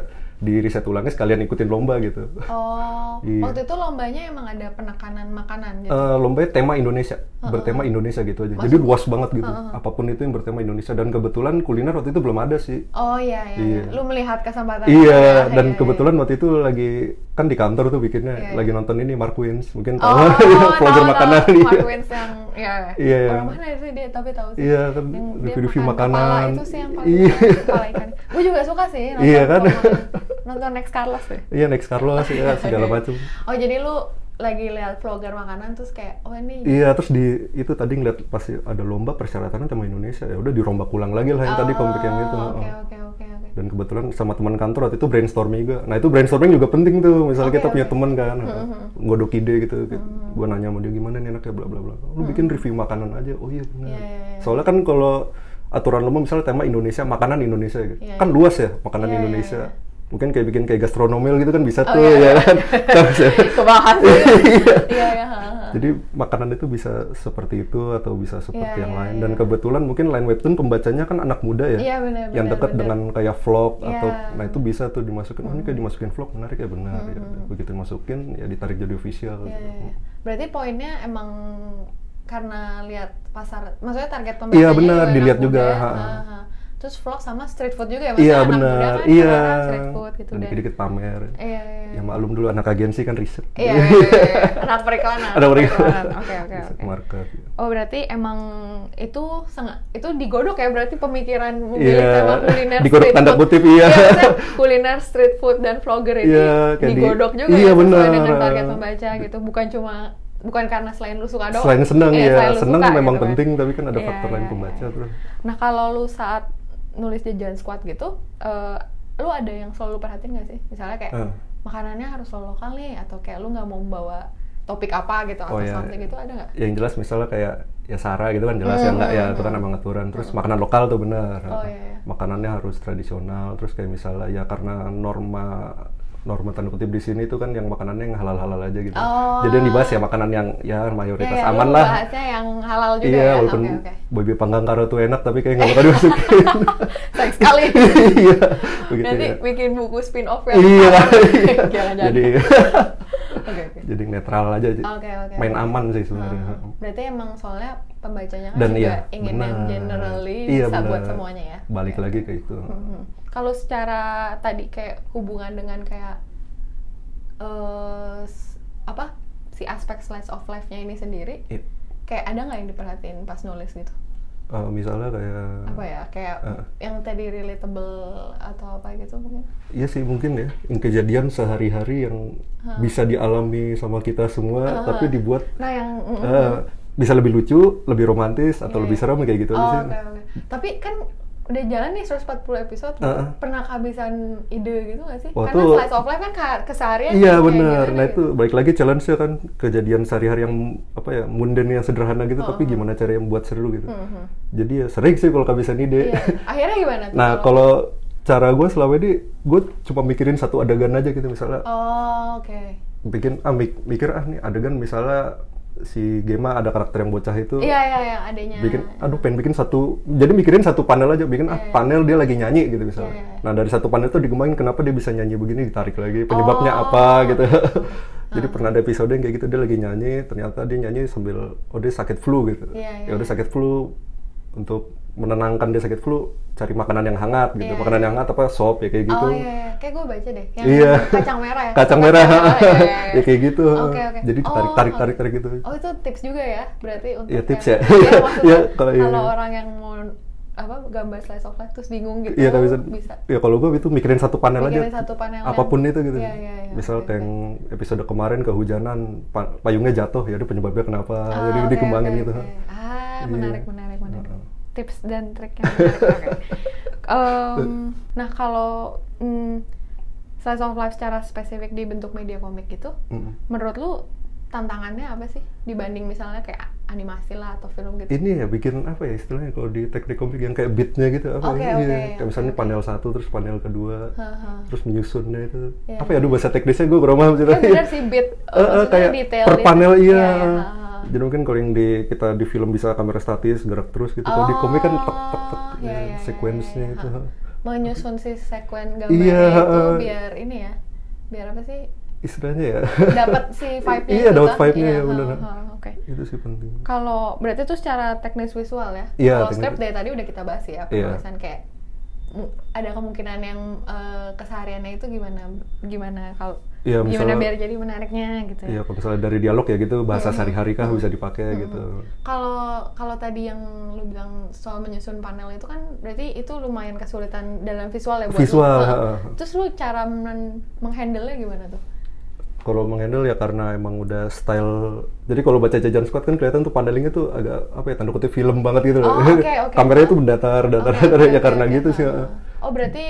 Speaker 2: di riset ulangnya sekalian ikutin lomba gitu.
Speaker 1: Oh,
Speaker 2: Iya.
Speaker 1: waktu itu lombanya emang ada penekanan makanan gitu.
Speaker 2: Eh, lombanya tema Indonesia, bertema Indonesia gitu aja. Jadi luas banget gitu. Apapun itu yang bertema Indonesia dan kebetulan kuliner waktu itu belum ada sih.
Speaker 1: oh iya, iya, iya.
Speaker 2: iya.
Speaker 1: Lu melihat kesempatan. itu ya,
Speaker 2: Iya,
Speaker 1: iya,
Speaker 2: dan
Speaker 1: iya.
Speaker 2: kebetulan waktu itu lagi kan di kantor tuh bikinnya
Speaker 1: Iya,
Speaker 2: lagi nonton ini Marquins, mungkin
Speaker 1: Oh,
Speaker 2: tahu vlogger
Speaker 1: tahu,
Speaker 2: makanan.
Speaker 1: tahu.
Speaker 2: iya.
Speaker 1: Mark Wins yang ya.
Speaker 2: Iya, iya.
Speaker 1: Orang mana sih dia tapi tahu sih.
Speaker 2: Iya, kan
Speaker 1: Yang dia
Speaker 2: review-review
Speaker 1: makan
Speaker 2: makanan.
Speaker 1: Kepala itu sih yang paling
Speaker 2: Iya.
Speaker 1: kepala ikan. Gue juga suka sih nonton
Speaker 2: Iya, kan?
Speaker 1: kemarin. nonton Next Carlos ya.
Speaker 2: Iya, next Carlos ya segala
Speaker 1: Oke.
Speaker 2: macam.
Speaker 1: Oh, jadi lu lagi lihat vlogger makanan terus kayak oh ini
Speaker 2: Iya, terus di itu tadi ngeliat pasti ada lomba persyaratannya tema Indonesia. Ya udah dirombak ulang lagi lah yang tadi gitu, komik yang itu.
Speaker 1: Oh, Oke,
Speaker 2: heeh.
Speaker 1: oke, oke, oke.
Speaker 2: Dan kebetulan sama teman kantor waktu itu brainstorming juga. Nah, itu brainstorming juga penting tuh. Misalnya
Speaker 1: Oke,
Speaker 2: kita punya
Speaker 1: oke. Mm-hmm.
Speaker 2: teman kan, godok ide gitu. Gua nanya sama dia gimana nih enaknya bla bla bla. Lu bikin review makanan aja. Oh iya benar.
Speaker 1: Mm-hmm. Iya, iya, iya.
Speaker 2: Soalnya kan kalau aturan lomba misalnya tema Indonesia, makanan Indonesia gitu.
Speaker 1: Iya,
Speaker 2: kan
Speaker 1: iya.
Speaker 2: luas ya makanan
Speaker 1: Iya, iya,
Speaker 2: Indonesia. Mungkin kayak bikin kayak gastronomil gitu kan bisa
Speaker 1: Oh,
Speaker 2: tuh
Speaker 1: iya, iya.
Speaker 2: ya kan. Terus ya.
Speaker 1: Kebahas. Iya, iya, iya. ha, ha.
Speaker 2: Jadi makanan itu bisa seperti itu atau bisa seperti
Speaker 1: Iya,
Speaker 2: yang
Speaker 1: iya,
Speaker 2: lain.
Speaker 1: iya.
Speaker 2: Dan kebetulan mungkin line webtoon pembacanya kan anak muda ya,
Speaker 1: Iya, benar,
Speaker 2: yang
Speaker 1: benar,
Speaker 2: dekat
Speaker 1: benar.
Speaker 2: dengan kayak vlog
Speaker 1: Iya. Hmm.
Speaker 2: atau nah itu bisa tuh dimasukin. Oh ini kayak dimasukin vlog menarik ya benar. ya udah. begitu masukin ya ditarik jadi official.
Speaker 1: Iya,
Speaker 2: gitu.
Speaker 1: iya, iya. Berarti poinnya emang karena lihat pasar, maksudnya target pembeli. ya,
Speaker 2: Iya, benar, dilihat juga, ha.
Speaker 1: Terus vlog sama street food juga ya,
Speaker 2: Iya
Speaker 1: anak muda
Speaker 2: benar,
Speaker 1: kan
Speaker 2: iya.
Speaker 1: sekarang street food gitu
Speaker 2: Dan
Speaker 1: dan.
Speaker 2: dikit-dikit pamer.
Speaker 1: Iya, iya,
Speaker 2: Ya maklum dulu anak agensi kan riset.
Speaker 1: iya. Iya, iya, iya. anak periklanan.
Speaker 2: Ada orang
Speaker 1: Oke, oke,
Speaker 2: riset
Speaker 1: oke.
Speaker 2: market. ya.
Speaker 1: Oh berarti emang itu sangat itu digodok ya berarti pemikiran memilih
Speaker 2: Iya,
Speaker 1: tema kuliner
Speaker 2: digodok
Speaker 1: street
Speaker 2: tanda
Speaker 1: food.
Speaker 2: kutip, iya.
Speaker 1: maksudnya kuliner street food dan vlogger ini
Speaker 2: Iya, kayak di-
Speaker 1: digodok juga
Speaker 2: iya,
Speaker 1: ya sesuai
Speaker 2: benar.
Speaker 1: dengan target pembaca gitu bukan cuma bukan karena selain lu suka doang.
Speaker 2: Selain senang
Speaker 1: eh, selain
Speaker 2: ya,
Speaker 1: lu
Speaker 2: senang
Speaker 1: suka
Speaker 2: memang
Speaker 1: gitu kan.
Speaker 2: penting tapi kan ada
Speaker 1: Iya,
Speaker 2: faktor lain
Speaker 1: iya,
Speaker 2: pembaca
Speaker 1: iya.
Speaker 2: terus.
Speaker 1: Nah kalau lu saat nulis jajan squad gitu, eh, lu ada yang selalu perhatiin gak sih? Misalnya kayak
Speaker 2: Eh.
Speaker 1: makanannya harus selalu lokal nih atau kayak lu nggak mau membawa topik apa gitu atau
Speaker 2: Oh, iya.
Speaker 1: something gitu ada nggak?
Speaker 2: yang jelas misalnya kayak ya Sara gitu kan jelas ya enggak ya itu kan emang aturan terus makanan lokal tuh bener
Speaker 1: Hmm, Oh, iya, iya.
Speaker 2: makanannya harus tradisional terus kayak misalnya ya karena norma norma tanda kutip di sini tuh kan yang makanannya yang halal-halal aja gitu.
Speaker 1: Oh.
Speaker 2: Jadi yang dibahas ya makanan yang ya mayoritas
Speaker 1: Ya, ya,
Speaker 2: aman
Speaker 1: lu
Speaker 2: lah.
Speaker 1: Bahasnya yang halal juga
Speaker 2: Iya,
Speaker 1: ya.
Speaker 2: walaupun
Speaker 1: Oke, oke.
Speaker 2: babi panggang karo tuh enak tapi kayak nggak bakal dimasukin.
Speaker 1: Sayang sekali.
Speaker 2: Iya, begitu
Speaker 1: Nanti
Speaker 2: ya.
Speaker 1: bikin buku spin-off ya.
Speaker 2: Iya.
Speaker 1: Jangan-jangan.
Speaker 2: Jadi
Speaker 1: Oke, oke.
Speaker 2: jadi netral aja.
Speaker 1: Oke, oke.
Speaker 2: Main aman sih sebenarnya.
Speaker 1: Hmm, Berarti emang soalnya pembacanya kan
Speaker 2: Dan
Speaker 1: juga
Speaker 2: iya,
Speaker 1: ingin yang
Speaker 2: benar.
Speaker 1: generally
Speaker 2: Iya,
Speaker 1: bisa buat
Speaker 2: benar.
Speaker 1: semuanya ya.
Speaker 2: Balik lagi ke itu.
Speaker 1: Mhm. Kalau secara tadi kayak hubungan dengan kayak eh, s- apa si aspek slice of life-nya ini sendiri,
Speaker 2: Iya.
Speaker 1: kayak ada nggak yang diperhatiin pas nulis gitu?
Speaker 2: Eh, misalnya kayak
Speaker 1: Apa ya kayak
Speaker 2: Eh.
Speaker 1: yang tadi relatable atau apa gitu mungkin?
Speaker 2: Iya sih mungkin ya, yang kejadian sehari-hari yang
Speaker 1: Hah.
Speaker 2: bisa dialami sama kita
Speaker 1: Ah.
Speaker 2: semua, tapi dibuat
Speaker 1: Nah yang mm,
Speaker 2: eh, bisa lebih lucu, lebih romantis atau
Speaker 1: Iya,
Speaker 2: lebih
Speaker 1: iya.
Speaker 2: serem kayak gitu aja
Speaker 1: oh,
Speaker 2: sih.
Speaker 1: oke, oke. Tapi kan udah jalan nih 140 episode,
Speaker 2: Heeh.
Speaker 1: pernah kehabisan ide gitu gak sih?
Speaker 2: Wah,
Speaker 1: Karena
Speaker 2: tuh-
Speaker 1: slice of life kan ka- keseharian
Speaker 2: Iya
Speaker 1: kayak
Speaker 2: benar.
Speaker 1: gimana
Speaker 2: Nah
Speaker 1: gitu.
Speaker 2: itu balik lagi challenge-nya kan kejadian sehari-hari yang apa ya mundane yang sederhana gitu, tapi
Speaker 1: Mm-hmm.
Speaker 2: gimana cara yang buat seru gitu.
Speaker 1: Mhm.
Speaker 2: Jadi ya sering sih kalau kehabisan ide.
Speaker 1: Iya. Akhirnya gimana tuh?
Speaker 2: nah kalau cara gue selama ini gue cuma mikirin satu adegan aja gitu misalnya
Speaker 1: Oh, oke.
Speaker 2: bikin ah mik- mikir ah nih adegan misalnya si Gema ada karakter yang bocah itu
Speaker 1: Iya, iya, yang adanya.
Speaker 2: bikin aduh pengen bikin satu jadi mikirin satu panel aja bikin ah panel dia lagi nyanyi gitu misalnya
Speaker 1: Iya, iya.
Speaker 2: nah dari satu panel tuh dikembangin kenapa dia bisa nyanyi begini ditarik lagi penyebabnya
Speaker 1: Oh. Ah.
Speaker 2: apa gitu jadi pernah ada episode yang kayak gitu dia lagi nyanyi ternyata dia nyanyi sambil oh dia sakit flu gitu
Speaker 1: Iya, iya.
Speaker 2: ya udah sakit flu untuk menenangkan dia sakit flu cari makanan yang hangat gitu
Speaker 1: Iya,
Speaker 2: makanan yang hangat apa sop ya kayak gitu
Speaker 1: Oh, iya, iya. Kayak gue baca deh. Yang
Speaker 2: Iya.
Speaker 1: kacang merah ya.
Speaker 2: kacang merah
Speaker 1: iya, iya, iya.
Speaker 2: ya kayak gitu
Speaker 1: Oke, oke.
Speaker 2: jadi
Speaker 1: Oh,
Speaker 2: tarik tarik tarik tarik gitu
Speaker 1: Oh, itu tips juga ya? Berarti untuk
Speaker 2: Iya, tips
Speaker 1: yang-
Speaker 2: ya.
Speaker 1: Iya,
Speaker 2: Iya,
Speaker 1: maksudnya
Speaker 2: kalau
Speaker 1: kalau,
Speaker 2: iya.
Speaker 1: orang yang mau apa gambar slice of life terus bingung gitu
Speaker 2: Iya tapi bisa.
Speaker 1: bisa.
Speaker 2: Ya kalau gue itu mikirin satu panel
Speaker 1: Mikirin
Speaker 2: aja.
Speaker 1: satu panel
Speaker 2: apapun
Speaker 1: yang-
Speaker 2: itu gitu.
Speaker 1: Iya, iya, iya,
Speaker 2: Misal
Speaker 1: oke,
Speaker 2: kayak yang episode kemarin kehujanan, pa- payungnya jatuh, ya udah penyebabnya kenapa.
Speaker 1: Ah,
Speaker 2: jadi
Speaker 1: oke,
Speaker 2: dikembangin
Speaker 1: oke,
Speaker 2: gitu.
Speaker 1: oke. Ah,
Speaker 2: Iya.
Speaker 1: menarik, menarik, menarik.
Speaker 2: Heeh.
Speaker 1: Tips dan trik yang menarik. oke. Em, nah, kalau mm, slice of life secara spesifik di bentuk media komik gitu,
Speaker 2: Mm.
Speaker 1: menurut lu tantangannya apa sih dibanding misalnya kayak animasi lah atau film gitu?
Speaker 2: Ini ya bikin apa ya istilahnya kalau di teknik komik yang kayak beatnya gitu apa
Speaker 1: Oke,
Speaker 2: ya?
Speaker 1: oke,
Speaker 2: Iya.
Speaker 1: oke,
Speaker 2: Kayak misalnya
Speaker 1: oke.
Speaker 2: panel satu terus panel kedua
Speaker 1: Haha.
Speaker 2: terus menyusunnya itu
Speaker 1: Iya.
Speaker 2: apa ya? Aduh bahasa teknisnya gue kurang paham sih.
Speaker 1: Iya benar sih beat
Speaker 2: Eh, eh,
Speaker 1: maksudnya iya,
Speaker 2: kayak
Speaker 1: detail
Speaker 2: per
Speaker 1: detail.
Speaker 2: panel iya.
Speaker 1: haha.
Speaker 2: Jadi mungkin kalau yang di kita di film bisa kamera statis gerak terus gitu. Kalau di komik kan tek tek
Speaker 1: iya.
Speaker 2: tek
Speaker 1: Oh, iya,
Speaker 2: ya,
Speaker 1: iya, iya,
Speaker 2: sequence-nya
Speaker 1: iya.
Speaker 2: itu.
Speaker 1: menyusun si sekuen gambarnya
Speaker 2: Iya,
Speaker 1: itu
Speaker 2: heeh.
Speaker 1: biar ini ya biar apa sih
Speaker 2: Istilahnya ya.
Speaker 1: dapat si vibe-nya
Speaker 2: Iya,
Speaker 1: itu
Speaker 2: dapat
Speaker 1: kan?
Speaker 2: vibe-nya,
Speaker 1: Iya,
Speaker 2: ya, bener.
Speaker 1: heeh, heeh, oke
Speaker 2: itu sih penting.
Speaker 1: kalau berarti itu secara teknis visual ya
Speaker 2: Iya,
Speaker 1: kalau
Speaker 2: teknis-
Speaker 1: script dari tadi udah kita bahas ya
Speaker 2: Iya.
Speaker 1: penulisan kayak mu- ada kemungkinan yang eh, kesehariannya itu gimana gimana kalau
Speaker 2: Iya,
Speaker 1: gimana
Speaker 2: misalnya-
Speaker 1: biar jadi menariknya gitu ya
Speaker 2: Iya, kalau misalnya dari dialog ya gitu bahasa
Speaker 1: Mm-hmm.
Speaker 2: sehari-hari kah bisa dipakai gitu.
Speaker 1: Kalau kalau tadi yang lu bilang soal menyusun panel itu kan berarti itu lumayan kesulitan dalam visual ya buat
Speaker 2: Visual,
Speaker 1: lu. Nah,
Speaker 2: heeh.
Speaker 1: Terus lu cara men- menghandle-nya gimana tuh?
Speaker 2: Kalau menghandle ya karena emang udah style. Jadi kalau baca jajan squad kan kelihatan tuh panelingnya tuh agak apa ya tanda kutip film banget gitu
Speaker 1: Oh,
Speaker 2: loh.
Speaker 1: oke, oke.
Speaker 2: Kameranya tuh mendatar, datar,
Speaker 1: Oke,
Speaker 2: datar
Speaker 1: oke,
Speaker 2: ya
Speaker 1: oke,
Speaker 2: karena
Speaker 1: oke.
Speaker 2: gitu sih.
Speaker 1: Heeh. Oh, berarti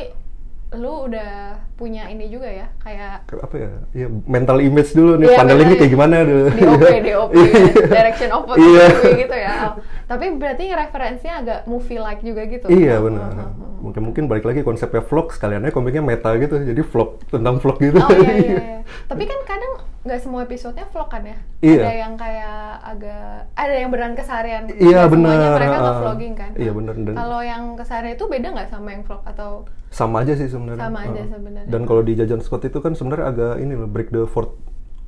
Speaker 1: lu udah punya ini juga ya, kayak
Speaker 2: Apa ya? Ya mental image dulu nih
Speaker 1: Iya,
Speaker 2: paneling ini
Speaker 1: mental
Speaker 2: kayak gimana dulu.
Speaker 1: DOP,
Speaker 2: Iya.
Speaker 1: DOP, ya, direction of
Speaker 2: Iya.
Speaker 1: photography gitu ya. Oh, Tapi berarti referensinya agak movie like juga gitu.
Speaker 2: Iya
Speaker 1: Oh,
Speaker 2: benar.
Speaker 1: oh, oh.
Speaker 2: Mungkin mungkin balik lagi konsepnya vlog sekaliannya komiknya meta gitu. Jadi vlog tentang vlog gitu.
Speaker 1: Oh iya, iya, iya. Tapi kan kadang nggak semua episodenya vlog kan ya?
Speaker 2: Iya.
Speaker 1: Ada yang kayak agak ada yang beneran keseharian.
Speaker 2: Iya,
Speaker 1: Nggak Semuanya
Speaker 2: bener.
Speaker 1: mereka nggak
Speaker 2: Ah,
Speaker 1: vlogging kan?
Speaker 2: iya, bener. Dan-
Speaker 1: Kalau yang keseharian itu beda nggak sama yang vlog atau?
Speaker 2: sama aja sih sebenarnya.
Speaker 1: Sama aja
Speaker 2: Heeh.
Speaker 1: sebenarnya.
Speaker 2: Dan kalau di Jajan Scott itu kan sebenarnya agak ini loh break the fourth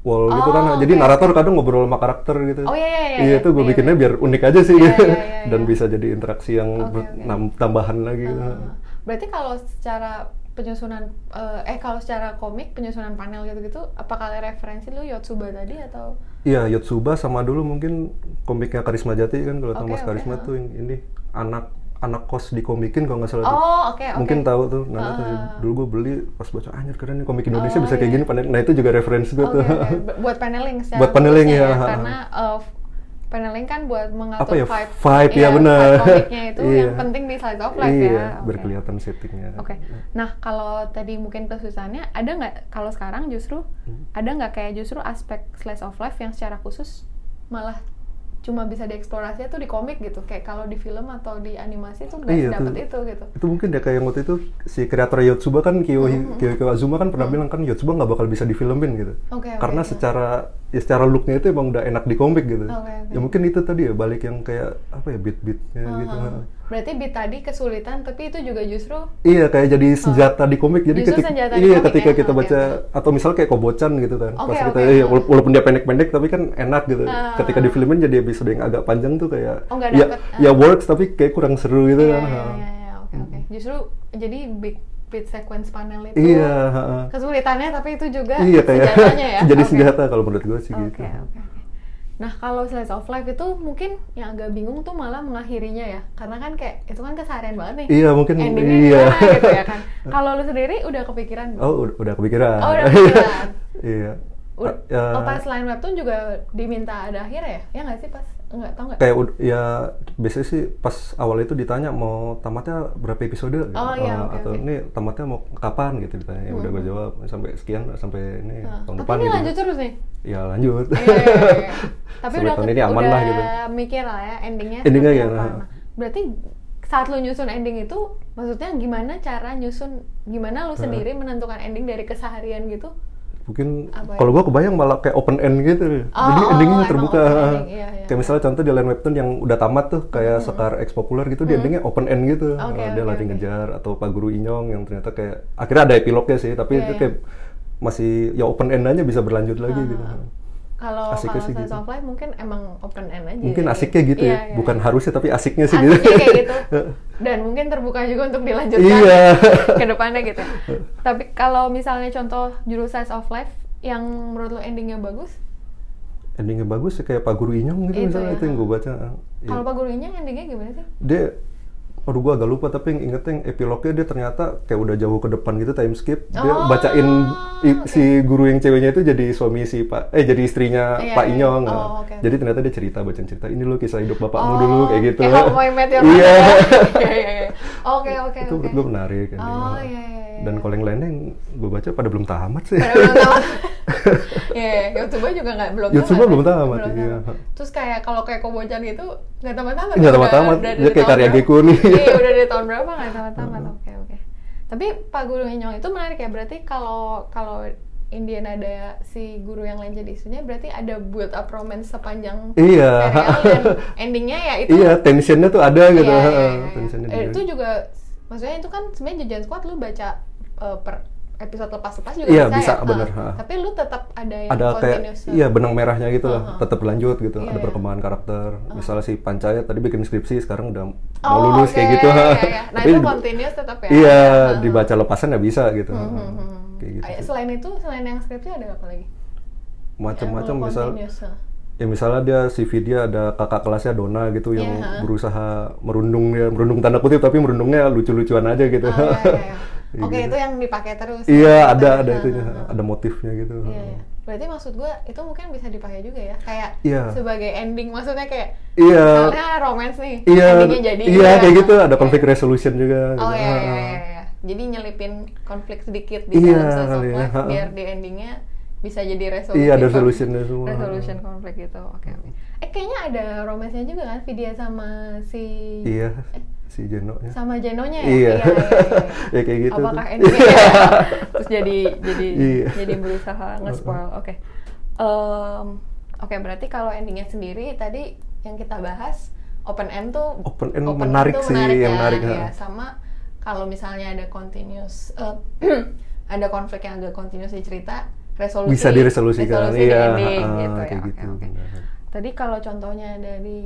Speaker 2: wall gitu
Speaker 1: Oh,
Speaker 2: kan. Jadi
Speaker 1: oke.
Speaker 2: narator kadang ngobrol sama karakter gitu.
Speaker 1: Oh, iya, iya, iya,
Speaker 2: Iya
Speaker 1: iya.
Speaker 2: itu gue
Speaker 1: Iya,
Speaker 2: bikinnya
Speaker 1: iya.
Speaker 2: biar unik aja sih.
Speaker 1: Iya, iya, iya,
Speaker 2: Dan
Speaker 1: iya.
Speaker 2: bisa jadi interaksi yang
Speaker 1: Oke,
Speaker 2: ber-
Speaker 1: oke.
Speaker 2: nam- tambahan lagi. gitu.
Speaker 1: Ah, berarti kalau secara penyusunan eh, eh kalau secara komik penyusunan panel gitu-gitu apa kali referensi lu Yotsuba tadi atau
Speaker 2: Iya Yotsuba sama dulu mungkin komiknya Karisma Jati kan kalau tahu
Speaker 1: Oke,
Speaker 2: Mas
Speaker 1: oke,
Speaker 2: Karisma
Speaker 1: heeh.
Speaker 2: tuh yang ini anak anak kos dikomikin kalau nggak salah. tuh.
Speaker 1: oh oke oke
Speaker 2: Mungkin tahu tuh, nah, tuh,
Speaker 1: Ah.
Speaker 2: dulu gue beli pas baca anjir keren nih komik Indonesia
Speaker 1: Oh,
Speaker 2: bisa kayak
Speaker 1: iya.
Speaker 2: gini, panel- nah itu juga reference gue
Speaker 1: Oke,
Speaker 2: tuh.
Speaker 1: oke. Bu- iya, buat paneling secara
Speaker 2: Buat paneling,
Speaker 1: khususnya
Speaker 2: ya.
Speaker 1: karena uh, f- paneling kan buat mengatur
Speaker 2: Apa ya,
Speaker 1: vibe
Speaker 2: vibe, ya,
Speaker 1: iya,
Speaker 2: benar.
Speaker 1: vibe komiknya itu yang
Speaker 2: Iya.
Speaker 1: penting di slice of life
Speaker 2: iya,
Speaker 1: ya Oke.
Speaker 2: biar kelihatan settingnya.
Speaker 1: oke nah kalau tadi mungkin kesusahannya ada nggak kalau sekarang
Speaker 2: Hmm.
Speaker 1: justru ada nggak kayak justru aspek slice of life yang secara khusus malah cuma bisa dieksplorasinya tuh di komik gitu kayak kalau di film atau di animasi tuh nggak
Speaker 2: Iya,
Speaker 1: sedapat
Speaker 2: tuh.
Speaker 1: itu gitu
Speaker 2: itu mungkin ya kayak yang waktu itu si kreator Yotsuba kan Kiyo
Speaker 1: Mm-hmm.
Speaker 2: Kiyo Azuma kan pernah bilang kan Yotsuba nggak bakal bisa difilmin gitu
Speaker 1: Oke, oke,
Speaker 2: karena
Speaker 1: iya.
Speaker 2: secara ya secara looknya itu emang udah enak di komik gitu
Speaker 1: Oke, oke.
Speaker 2: ya mungkin itu tadi ya balik yang kayak apa ya beat beatnya gitu
Speaker 1: Aha. berarti beat tadi kesulitan tapi itu juga justru
Speaker 2: Iya kayak jadi senjata di komik jadi
Speaker 1: Justru
Speaker 2: ketika
Speaker 1: senjata di
Speaker 2: iya
Speaker 1: komik
Speaker 2: ketika
Speaker 1: ya?
Speaker 2: kita
Speaker 1: Oke,
Speaker 2: baca atau misalnya kayak kobocan gitu kan
Speaker 1: Oke,
Speaker 2: pas kita
Speaker 1: oke.
Speaker 2: iya, wala- walaupun dia pendek-pendek tapi kan enak gitu
Speaker 1: Ah.
Speaker 2: ketika di filmin jadi episode yang agak panjang tuh kayak
Speaker 1: Oh, nggak
Speaker 2: ya
Speaker 1: dapet. Ah.
Speaker 2: ya works tapi kayak kurang seru gitu
Speaker 1: Iya, iya,
Speaker 2: kan Ha. Hmm.
Speaker 1: iya, iya, oke oke justru jadi beat beat sequence panel itu
Speaker 2: iya ha, ha.
Speaker 1: kesulitannya tapi itu juga
Speaker 2: iya kayak
Speaker 1: senjatanya ya
Speaker 2: jadi
Speaker 1: Oke.
Speaker 2: senjata kalau menurut gue sih
Speaker 1: Oke,
Speaker 2: gitu
Speaker 1: oke, oke. Nah, kalau slice of life itu mungkin yang agak bingung tuh malah mengakhirinya ya. Karena kan kayak itu kan keseharian banget nih.
Speaker 2: iya mungkin
Speaker 1: Endingnya
Speaker 2: iya
Speaker 1: gimana gitu ya kan. Kalau lu sendiri udah kepikiran belum?
Speaker 2: oh udah, udah kepikiran
Speaker 1: Oh, udah kepikiran.
Speaker 2: iya
Speaker 1: Ud-
Speaker 2: Eh,
Speaker 1: oh, pas lain webtoon juga diminta ada akhir ya? Ya nggak sih pas? Nggak, tau nggak?
Speaker 2: kayak ud- ya biasanya sih pas awal itu ditanya mau tamatnya berapa episode gitu.
Speaker 1: Oh, iya,
Speaker 2: Uh,
Speaker 1: oke,
Speaker 2: atau
Speaker 1: oke.
Speaker 2: ini tamatnya mau kapan gitu ditanya ya udah gue jawab sampai sekian sampai ini
Speaker 1: Nah,
Speaker 2: tahun
Speaker 1: Tapi
Speaker 2: depan
Speaker 1: ini
Speaker 2: gitu
Speaker 1: lanjut terus nih.
Speaker 2: ya lanjut
Speaker 1: Iya, iya, iya, iya. Tapi
Speaker 2: Sampai
Speaker 1: udah,
Speaker 2: tahun
Speaker 1: ke-
Speaker 2: ini aman
Speaker 1: udah
Speaker 2: lah gitu.
Speaker 1: mikir lah ya endingnya.
Speaker 2: Endingnya
Speaker 1: seperti
Speaker 2: kayak-
Speaker 1: apa. Nah, Berarti saat lu nyusun ending itu, maksudnya gimana cara nyusun, gimana lu sendiri menentukan ending dari keseharian gitu?
Speaker 2: mungkin
Speaker 1: Apa ya?
Speaker 2: kalau gue kebayang malah kayak open end gitu
Speaker 1: Oh,
Speaker 2: jadi
Speaker 1: oh,
Speaker 2: endingnya
Speaker 1: emang
Speaker 2: terbuka
Speaker 1: open ending, iya, iya. Hmm.
Speaker 2: kayak misalnya contoh di line webtoon yang udah tamat tuh kayak Sekar X Populer gitu dia endingnya open end
Speaker 1: Oke,
Speaker 2: gitu Nah,
Speaker 1: oke,
Speaker 2: dia lari
Speaker 1: oke.
Speaker 2: ngejar atau Pak Guru Inyong yang ternyata kayak akhirnya ada epilognya sih tapi
Speaker 1: Iya,
Speaker 2: itu
Speaker 1: iya.
Speaker 2: kayak masih ya open end aja bisa berlanjut lagi
Speaker 1: Ah,
Speaker 2: gitu
Speaker 1: Kalau
Speaker 2: Asiknya
Speaker 1: kalau
Speaker 2: sih
Speaker 1: slice
Speaker 2: gitu.
Speaker 1: of life mungkin emang open end aja.
Speaker 2: mungkin
Speaker 1: jadi-
Speaker 2: asiknya gitu
Speaker 1: Iya,
Speaker 2: ya
Speaker 1: iya.
Speaker 2: bukan harusnya tapi asiknya sih
Speaker 1: Asiknya
Speaker 2: gitu
Speaker 1: kayak gitu. Dan mungkin terbuka juga untuk dilanjutkan
Speaker 2: Iya.
Speaker 1: ke depannya gitu. Tapi kalau misalnya contoh judul slice of life yang menurut lo endingnya bagus,
Speaker 2: endingnya bagus sih kayak Pak Guru Inyong gitu
Speaker 1: Itu
Speaker 2: misalnya
Speaker 1: ya.
Speaker 2: itu yang gue baca Iya.
Speaker 1: kalau Pak Gurunya endingnya gimana sih?
Speaker 2: dia aduh gua agak lupa tapi yang ingetnya yang epilognya dia ternyata kayak udah jauh ke depan gitu time skip dia
Speaker 1: Oh,
Speaker 2: bacain i-
Speaker 1: oke.
Speaker 2: si guru yang ceweknya itu jadi suami si pak eh jadi istrinya
Speaker 1: Iya,
Speaker 2: pak
Speaker 1: iya.
Speaker 2: Inyong
Speaker 1: Oh,
Speaker 2: nah.
Speaker 1: oke.
Speaker 2: jadi ternyata dia cerita bacain cerita ini loh kisah hidup bapakmu
Speaker 1: Oh,
Speaker 2: dulu kayak gitu
Speaker 1: Kayak How I Met Your Mother.
Speaker 2: iya
Speaker 1: Iya, iya, iya. Oke, oke,
Speaker 2: itu
Speaker 1: oke.
Speaker 2: menurut gue menarik kan
Speaker 1: Oh, iya, iya, iya.
Speaker 2: dan kalau yang lainnya yang gue baca pada belum tamat sih
Speaker 1: Pada belum tamat. Iya, iya. YouTuber juga nggak belum kan?
Speaker 2: YouTuber belum tamat,
Speaker 1: Belum
Speaker 2: iya.
Speaker 1: Terus kayak kalau kayak Kobojan itu nggak tamat-tamat.
Speaker 2: Nggak
Speaker 1: udah-
Speaker 2: tamat-tamat.
Speaker 1: udah
Speaker 2: Dia
Speaker 1: dari
Speaker 2: kayak
Speaker 1: tahun
Speaker 2: karya
Speaker 1: berapa?
Speaker 2: Gekko nih.
Speaker 1: Iya, udah dari tahun berapa nggak tamat-tamat. Oke, oke. Tapi Pak Guru Inyong itu menarik ya. Berarti kalau kalau Indian ada si guru yang lain jadi istrinya, berarti ada build up romance sepanjang
Speaker 2: Iya.
Speaker 1: serial dan endingnya ya itu
Speaker 2: iya tensionnya tuh ada gitu
Speaker 1: Iya, iya, iya, iya.
Speaker 2: tensionnya
Speaker 1: Eh,
Speaker 2: dia.
Speaker 1: itu juga maksudnya itu kan sebenarnya jajan squad lu baca eh, per episode lepas-lepas juga
Speaker 2: Iya,
Speaker 1: bisa,
Speaker 2: bisa,
Speaker 1: ya?
Speaker 2: bener,
Speaker 1: Ah,
Speaker 2: ha.
Speaker 1: tapi lu tetap ada yang
Speaker 2: ada kayak
Speaker 1: continuous
Speaker 2: iya benang merahnya gitu lah
Speaker 1: Uh-huh.
Speaker 2: tetap lanjut gitu
Speaker 1: ah. Iya,
Speaker 2: ada
Speaker 1: iya. Ah.
Speaker 2: perkembangan karakter misalnya si Pancaya tadi bikin skripsi sekarang udah mau
Speaker 1: Oh,
Speaker 2: lulus
Speaker 1: oke,
Speaker 2: kayak gitu
Speaker 1: iya, iya, iya. Nah,
Speaker 2: Tapi
Speaker 1: itu
Speaker 2: di-
Speaker 1: continuous tetap ya?
Speaker 2: iya
Speaker 1: Ah.
Speaker 2: dibaca lepasan ya bisa gitu
Speaker 1: Hmm, hmm.
Speaker 2: kayak gitu
Speaker 1: Eh,
Speaker 2: sih.
Speaker 1: selain itu selain yang skripsi ada apa lagi
Speaker 2: macam-macam
Speaker 1: Yang
Speaker 2: misal
Speaker 1: continuous, ah.
Speaker 2: ya misalnya dia CV dia ada kakak kelasnya Dona gitu yang
Speaker 1: Iya, ha.
Speaker 2: berusaha merundung ya merundung tanda kutip tapi merundungnya lucu-lucuan aja gitu
Speaker 1: Oh, iya, iya, iya.
Speaker 2: Kayak
Speaker 1: oke
Speaker 2: gitu.
Speaker 1: itu yang dipakai terus
Speaker 2: iya
Speaker 1: Yang
Speaker 2: ada
Speaker 1: dipakai.
Speaker 2: ada
Speaker 1: Ah,
Speaker 2: itunya
Speaker 1: ah, ah.
Speaker 2: ada motifnya gitu
Speaker 1: Iya, iya. berarti maksud gua itu mungkin bisa dipakai juga ya kayak
Speaker 2: Iya.
Speaker 1: sebagai ending maksudnya kayak
Speaker 2: iya
Speaker 1: Soalnya romance nih,
Speaker 2: iya
Speaker 1: endingnya jadi
Speaker 2: iya kayak gitu ada
Speaker 1: konflik
Speaker 2: konflik resolution juga
Speaker 1: Oh
Speaker 2: gitu.
Speaker 1: iya,
Speaker 2: Ha,
Speaker 1: iya,
Speaker 2: ha.
Speaker 1: iya, iya. Jadi nyelipin konflik sedikit di
Speaker 2: Iya,
Speaker 1: dalam slice of
Speaker 2: kali ya.
Speaker 1: life
Speaker 2: Ha-ha.
Speaker 1: biar di endingnya bisa jadi resolusi.
Speaker 2: Iya, ada
Speaker 1: konflik-
Speaker 2: solutionnya semua.
Speaker 1: Resolution konflik gitu. Oke, oke. Eh kayaknya ada romansnya juga kan Vidya sama si
Speaker 2: Iya, si Jenonya.
Speaker 1: sama Jenonya ya?
Speaker 2: Iya.
Speaker 1: iya, iya.
Speaker 2: Ya, kayak gitu
Speaker 1: Apakah
Speaker 2: tuh.
Speaker 1: endingnya ya? terus jadi jadi
Speaker 2: Iya.
Speaker 1: jadi berusaha nge-spoil. Oke. Em, oke, berarti kalau endingnya sendiri tadi yang kita bahas open end tuh
Speaker 2: Open end menarik
Speaker 1: tuh
Speaker 2: sih, yang menarik,
Speaker 1: ya.
Speaker 2: ha.
Speaker 1: Sama kalau misalnya ada continuous eh, ada konflik yang agak continuous di cerita, resolusi
Speaker 2: Bisa diresolusikan.
Speaker 1: resolusi di
Speaker 2: Iya,
Speaker 1: ending,
Speaker 2: ah,
Speaker 1: gitu ya.
Speaker 2: kayak
Speaker 1: Oke,
Speaker 2: gitu.
Speaker 1: oke.
Speaker 2: benar.
Speaker 1: Tadi kalau contohnya dari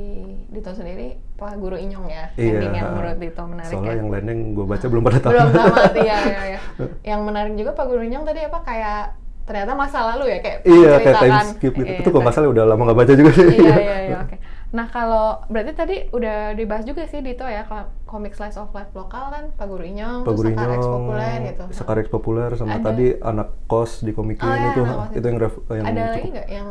Speaker 1: Dito sendiri, Pak Guru Inyong ya,
Speaker 2: Iya.
Speaker 1: ending yang menurut Dito menarik
Speaker 2: Soalnya
Speaker 1: ya.
Speaker 2: yang lain yang gue baca belum pada tamat.
Speaker 1: Belum tamat, iya, iya, iya. Yang menarik juga Pak Guru Inyong tadi apa kayak ternyata masa lalu ya kayak
Speaker 2: iya, kayak time
Speaker 1: menceritakan-
Speaker 2: skip gitu.
Speaker 1: Iya,
Speaker 2: Itu kalau
Speaker 1: tadi-
Speaker 2: nggak salah udah lama nggak baca juga sih.
Speaker 1: Iya, iya, iya, oke. Nah, kalau berarti tadi udah dibahas juga sih Dito ya, kalau komik slice of life lokal kan Pak Guru Inyong,
Speaker 2: Pak
Speaker 1: terus
Speaker 2: Guru
Speaker 1: Sekar X
Speaker 2: Nyong,
Speaker 1: Populer gitu.
Speaker 2: Sekar X Populer, sama
Speaker 1: Ada.
Speaker 2: tadi anak kos di komik
Speaker 1: Oh,
Speaker 2: Yin
Speaker 1: iya,
Speaker 2: itu,
Speaker 1: anak kos
Speaker 2: itu yang, ref, yang
Speaker 1: Ada lagi
Speaker 2: cukup- Iya
Speaker 1: nggak yang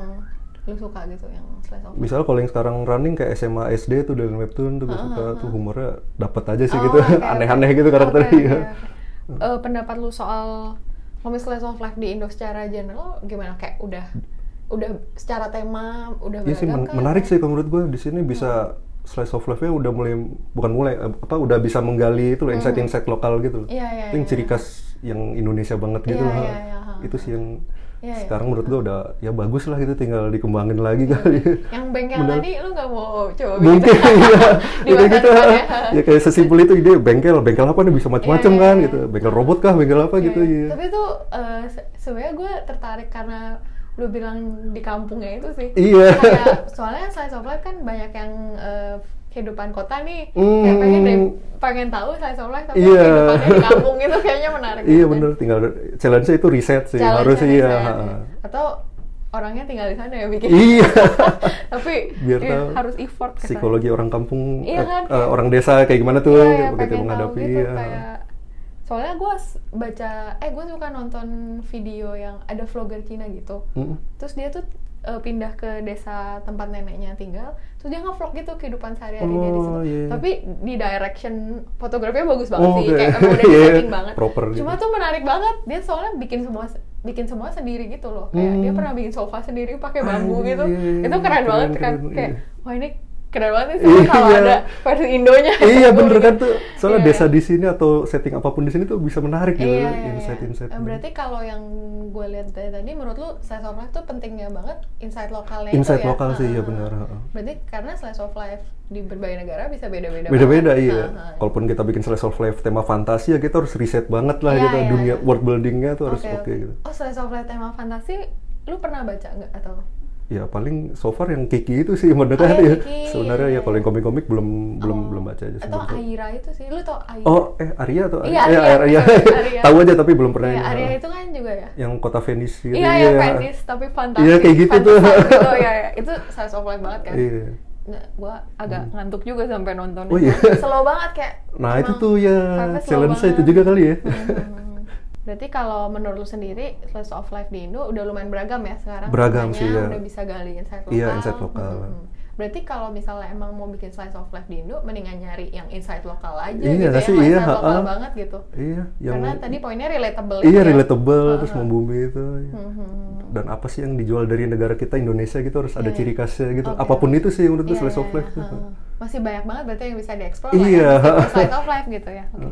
Speaker 1: lu suka gitu yang slice of life?
Speaker 2: Misalnya kalau yang sekarang running kayak SMA SD tuh dari webtoon tuh gue
Speaker 1: Ah,
Speaker 2: suka
Speaker 1: ah,
Speaker 2: tuh
Speaker 1: ah.
Speaker 2: humornya dapat aja sih
Speaker 1: Oh,
Speaker 2: gitu,
Speaker 1: oke, oke.
Speaker 2: aneh-aneh gitu karakternya.
Speaker 1: Oke, oke,
Speaker 2: iya.
Speaker 1: oke. Eh, pendapat lu soal komik slice of life di Indo secara general gimana kayak udah udah secara tema udah
Speaker 2: Iya sih
Speaker 1: beragam
Speaker 2: men-
Speaker 1: kan?
Speaker 2: menarik sih kalau menurut gue di sini
Speaker 1: Hmm.
Speaker 2: bisa slice of life-nya udah mulai bukan mulai eh, apa udah bisa menggali itu loh insight-insight lokal gitu loh.
Speaker 1: Hmm. Iya, iya,
Speaker 2: itu yang
Speaker 1: iya.
Speaker 2: ciri khas yang Indonesia banget gitu
Speaker 1: Iya,
Speaker 2: lah.
Speaker 1: iya, iya, ha.
Speaker 2: Itu sih yang
Speaker 1: Iya, Hmm. iya.
Speaker 2: sekarang menurut gue udah ya bagus lah gitu tinggal dikembangin lagi kali.
Speaker 1: yang bengkel
Speaker 2: Benar.
Speaker 1: tadi lu nggak mau coba
Speaker 2: Mungkin
Speaker 1: bikin?
Speaker 2: iya.
Speaker 1: Di
Speaker 2: Ya kayak
Speaker 1: masa
Speaker 2: gitu.
Speaker 1: depan ya.
Speaker 2: Ya kayak sesimpel itu ide bengkel, bengkel apa nih bisa macam-macam
Speaker 1: Iya, iya,
Speaker 2: kan
Speaker 1: iya.
Speaker 2: gitu. Bengkel robot kah, bengkel apa gitu
Speaker 1: Iya.
Speaker 2: iya.
Speaker 1: Tapi tuh eh, se- sebenarnya gue tertarik karena lu bilang di kampungnya itu sih.
Speaker 2: Iya.
Speaker 1: Kayak, soalnya slice of life kan banyak yang eh, kehidupan kota nih. Kayak
Speaker 2: Hmm.
Speaker 1: pengen deh- pengen tahu slice of life tapi
Speaker 2: Iya.
Speaker 1: kehidupannya di kampung itu kayaknya menarik.
Speaker 2: Iya
Speaker 1: banget.
Speaker 2: bener, tinggal challenge-nya itu riset sih,
Speaker 1: Jalan
Speaker 2: harus
Speaker 1: sana,
Speaker 2: iya.
Speaker 1: sana.
Speaker 2: ha.
Speaker 1: Atau orangnya tinggal di sana ya bikin.
Speaker 2: Iya.
Speaker 1: tapi
Speaker 2: Biar
Speaker 1: iya,
Speaker 2: tahu
Speaker 1: harus effort ke sana.
Speaker 2: psikologi orang kampung
Speaker 1: Iya
Speaker 2: eh,
Speaker 1: kan,
Speaker 2: eh,
Speaker 1: kayak-
Speaker 2: orang desa kayak gimana
Speaker 1: Iya,
Speaker 2: tuh kayak
Speaker 1: pengen
Speaker 2: begitu
Speaker 1: tahu
Speaker 2: menghadapi
Speaker 1: gitu,
Speaker 2: iya.
Speaker 1: kayak soalnya gue baca eh gue suka nonton video yang ada vlogger Cina gitu
Speaker 2: Mm.
Speaker 1: terus dia tuh eh, pindah ke desa tempat neneknya tinggal terus dia nge-vlog gitu kehidupan sehari-hari dia di situ
Speaker 2: Oh, iya.
Speaker 1: tapi di direction fotografinya bagus banget
Speaker 2: Oh,
Speaker 1: sih
Speaker 2: oke.
Speaker 1: kayak emang udah di
Speaker 2: Iya,
Speaker 1: setting banget
Speaker 2: proper gitu.
Speaker 1: cuma tuh menarik banget dia soalnya bikin semua bikin semua sendiri gitu loh kayak
Speaker 2: Hmm.
Speaker 1: dia pernah bikin sofa sendiri pakai bambu
Speaker 2: Ah,
Speaker 1: gitu
Speaker 2: iya,
Speaker 1: itu keren,
Speaker 2: keren,
Speaker 1: banget kan
Speaker 2: keren,
Speaker 1: kayak
Speaker 2: iya.
Speaker 1: wah ini keren banget sih soalnya kalau
Speaker 2: Iya.
Speaker 1: ada versi Indonya
Speaker 2: Iya bener kan tuh, soalnya
Speaker 1: Iya.
Speaker 2: desa di sini atau setting apapun di sini tuh bisa menarik gitu,
Speaker 1: Iya, iya,
Speaker 2: insight-insight.
Speaker 1: iya. Eh, Berarti kalau yang gue lihat dari tadi, menurut lu slice of life tuh pentingnya banget insight lokalnya
Speaker 2: Insight
Speaker 1: itu ya?
Speaker 2: lokal sih,
Speaker 1: Heeh.
Speaker 2: iya benar, heeh.
Speaker 1: Berarti karena slice of life di berbagai negara bisa beda-beda.
Speaker 2: Beda-beda
Speaker 1: banget.
Speaker 2: iya.
Speaker 1: Heeh.
Speaker 2: Kalaupun kita bikin slice of life tema fantasi ya kita harus riset banget lah
Speaker 1: Iya,
Speaker 2: gitu,
Speaker 1: iya,
Speaker 2: dunia
Speaker 1: iya.
Speaker 2: world buildingnya tuh harus
Speaker 1: Oke,
Speaker 2: oke
Speaker 1: oke.
Speaker 2: gitu.
Speaker 1: Oh slice of life tema fantasi, lu pernah baca nggak atau?
Speaker 2: Ya paling so far yang Kiki itu sih yang
Speaker 1: Oh,
Speaker 2: mendekat ya.
Speaker 1: yang Kiki,
Speaker 2: Sebenarnya
Speaker 1: iya,
Speaker 2: ya kalau yang komik-komik belum belum
Speaker 1: Oh.
Speaker 2: belum baca aja sih.
Speaker 1: Atau
Speaker 2: belum tahu.
Speaker 1: Aira itu sih, lu tau Aira?
Speaker 2: Oh, eh Arya atau
Speaker 1: Iya,
Speaker 2: Eh,
Speaker 1: Arya,
Speaker 2: Arya.
Speaker 1: sorry, Arya.
Speaker 2: Tahu aja tapi belum pernah.
Speaker 1: Iya,
Speaker 2: ini.
Speaker 1: Aria itu kan juga ya?
Speaker 2: Yang kota Venice gitu.
Speaker 1: Iya, yang Venice, tapi fantasi.
Speaker 2: Iya, kayak gitu tuh.
Speaker 1: Fantasi gitu, iya, iya. Itu slice of life banget kan?
Speaker 2: Iya. Hmm.
Speaker 1: Nah, gue agak ngantuk juga sampai nonton
Speaker 2: Oh, iya.
Speaker 1: slow banget kayak
Speaker 2: Nah, itu
Speaker 1: emang
Speaker 2: tuh ya
Speaker 1: vibe-nya slow
Speaker 2: challenge
Speaker 1: banget.
Speaker 2: itu juga kali ya.
Speaker 1: Hmm. berarti kalau menurut lu sendiri slice of life di Indo udah lumayan beragam ya sekarang
Speaker 2: Beragam
Speaker 1: Makanya
Speaker 2: sih, ya.
Speaker 1: udah bisa gali insight lokal
Speaker 2: Iya, insight lokal.
Speaker 1: Hmm. berarti kalau misalnya emang mau bikin slice of life di Indo mendingan nyari yang insight lokal aja
Speaker 2: Iya,
Speaker 1: gitu
Speaker 2: nggak
Speaker 1: ya
Speaker 2: sih?
Speaker 1: yang
Speaker 2: Iya,
Speaker 1: insight lokal
Speaker 2: ha-ha.
Speaker 1: banget gitu
Speaker 2: Iya, yang
Speaker 1: karena tadi poinnya relatable
Speaker 2: Iya,
Speaker 1: ya.
Speaker 2: relatable
Speaker 1: Ha-ha.
Speaker 2: terus membumi itu. ya.
Speaker 1: Hmm, hmm, hmm.
Speaker 2: Dan apa sih yang dijual dari negara kita Indonesia gitu harus
Speaker 1: Iya,
Speaker 2: ada ciri khasnya gitu.
Speaker 1: Oke.
Speaker 2: Apapun itu sih menurut gue
Speaker 1: Iya,
Speaker 2: slice of
Speaker 1: iya,
Speaker 2: life. gitu. tuh.
Speaker 1: iya. Heeh. Masih banyak banget berarti yang bisa dieksplor
Speaker 2: Iya.
Speaker 1: lah ya, meskipun slice of life gitu ya. Oke.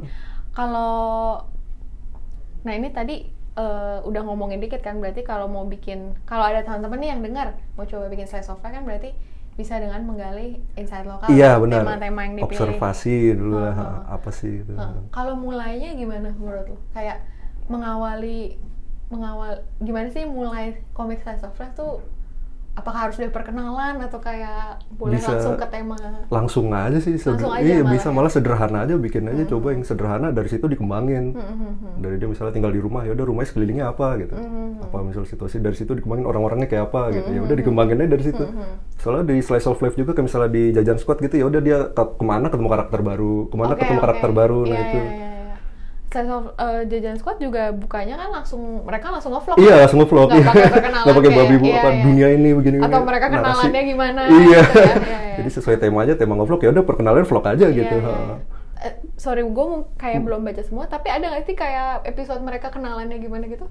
Speaker 1: Kalau nah ini tadi eh, udah ngomongin dikit kan berarti kalau mau bikin kalau ada teman-teman nih yang dengar mau coba bikin slice of life kan berarti bisa dengan menggali insight lokal kan,
Speaker 2: Iya, benar.
Speaker 1: tema-tema yang dipilih.
Speaker 2: Observasi dulu lah
Speaker 1: Ha-ha.
Speaker 2: ha, apa sih gitu.
Speaker 1: Heeh. Kalau mulainya gimana menurut lo? Kayak mengawali mengawal gimana sih mulai komik slice of life tuh apakah harus dari perkenalan atau kayak boleh
Speaker 2: Bisa-
Speaker 1: langsung ke tema
Speaker 2: langsung aja sih seder-
Speaker 1: Langsung aja
Speaker 2: iya
Speaker 1: malah
Speaker 2: bisa
Speaker 1: ya.
Speaker 2: malah sederhana aja bikin aja coba yang sederhana dari situ dikembangin dari dia misalnya tinggal di rumah ya udah rumahnya sekelilingnya apa gitu apa misalnya situasi dari situ dikembangin orang-orangnya kayak apa gitu ya udah dikembangin aja dari situ soalnya di slice of life juga kayak misalnya di jajan squad gitu ya udah dia ke- kemana ketemu karakter baru kemana
Speaker 1: Oke,
Speaker 2: ketemu
Speaker 1: oke.
Speaker 2: karakter baru
Speaker 1: Iya,
Speaker 2: nah itu
Speaker 1: iya, iya, iya. Slice of, eh, jajan squad juga bukanya kan langsung mereka langsung nge-vlog. kan?
Speaker 2: Iya langsung ngevlog
Speaker 1: Nggak pakai perkenalan
Speaker 2: Nggak pakai
Speaker 1: kayak-
Speaker 2: babi bu
Speaker 1: iya,
Speaker 2: apa
Speaker 1: iya.
Speaker 2: dunia ini begini
Speaker 1: Atau
Speaker 2: begini.
Speaker 1: mereka
Speaker 2: Narasi.
Speaker 1: kenalannya gimana,
Speaker 2: Iya
Speaker 1: gitu ya, iya, iya.
Speaker 2: Jadi sesuai temanya tema ngevlog ya udah perkenalan vlog aja
Speaker 1: Iya,
Speaker 2: gitu
Speaker 1: iya,
Speaker 2: ha.
Speaker 1: iya. Eh, sorry, gue kayak belum baca semua, tapi ada nggak sih kayak episode mereka kenalannya gimana gitu?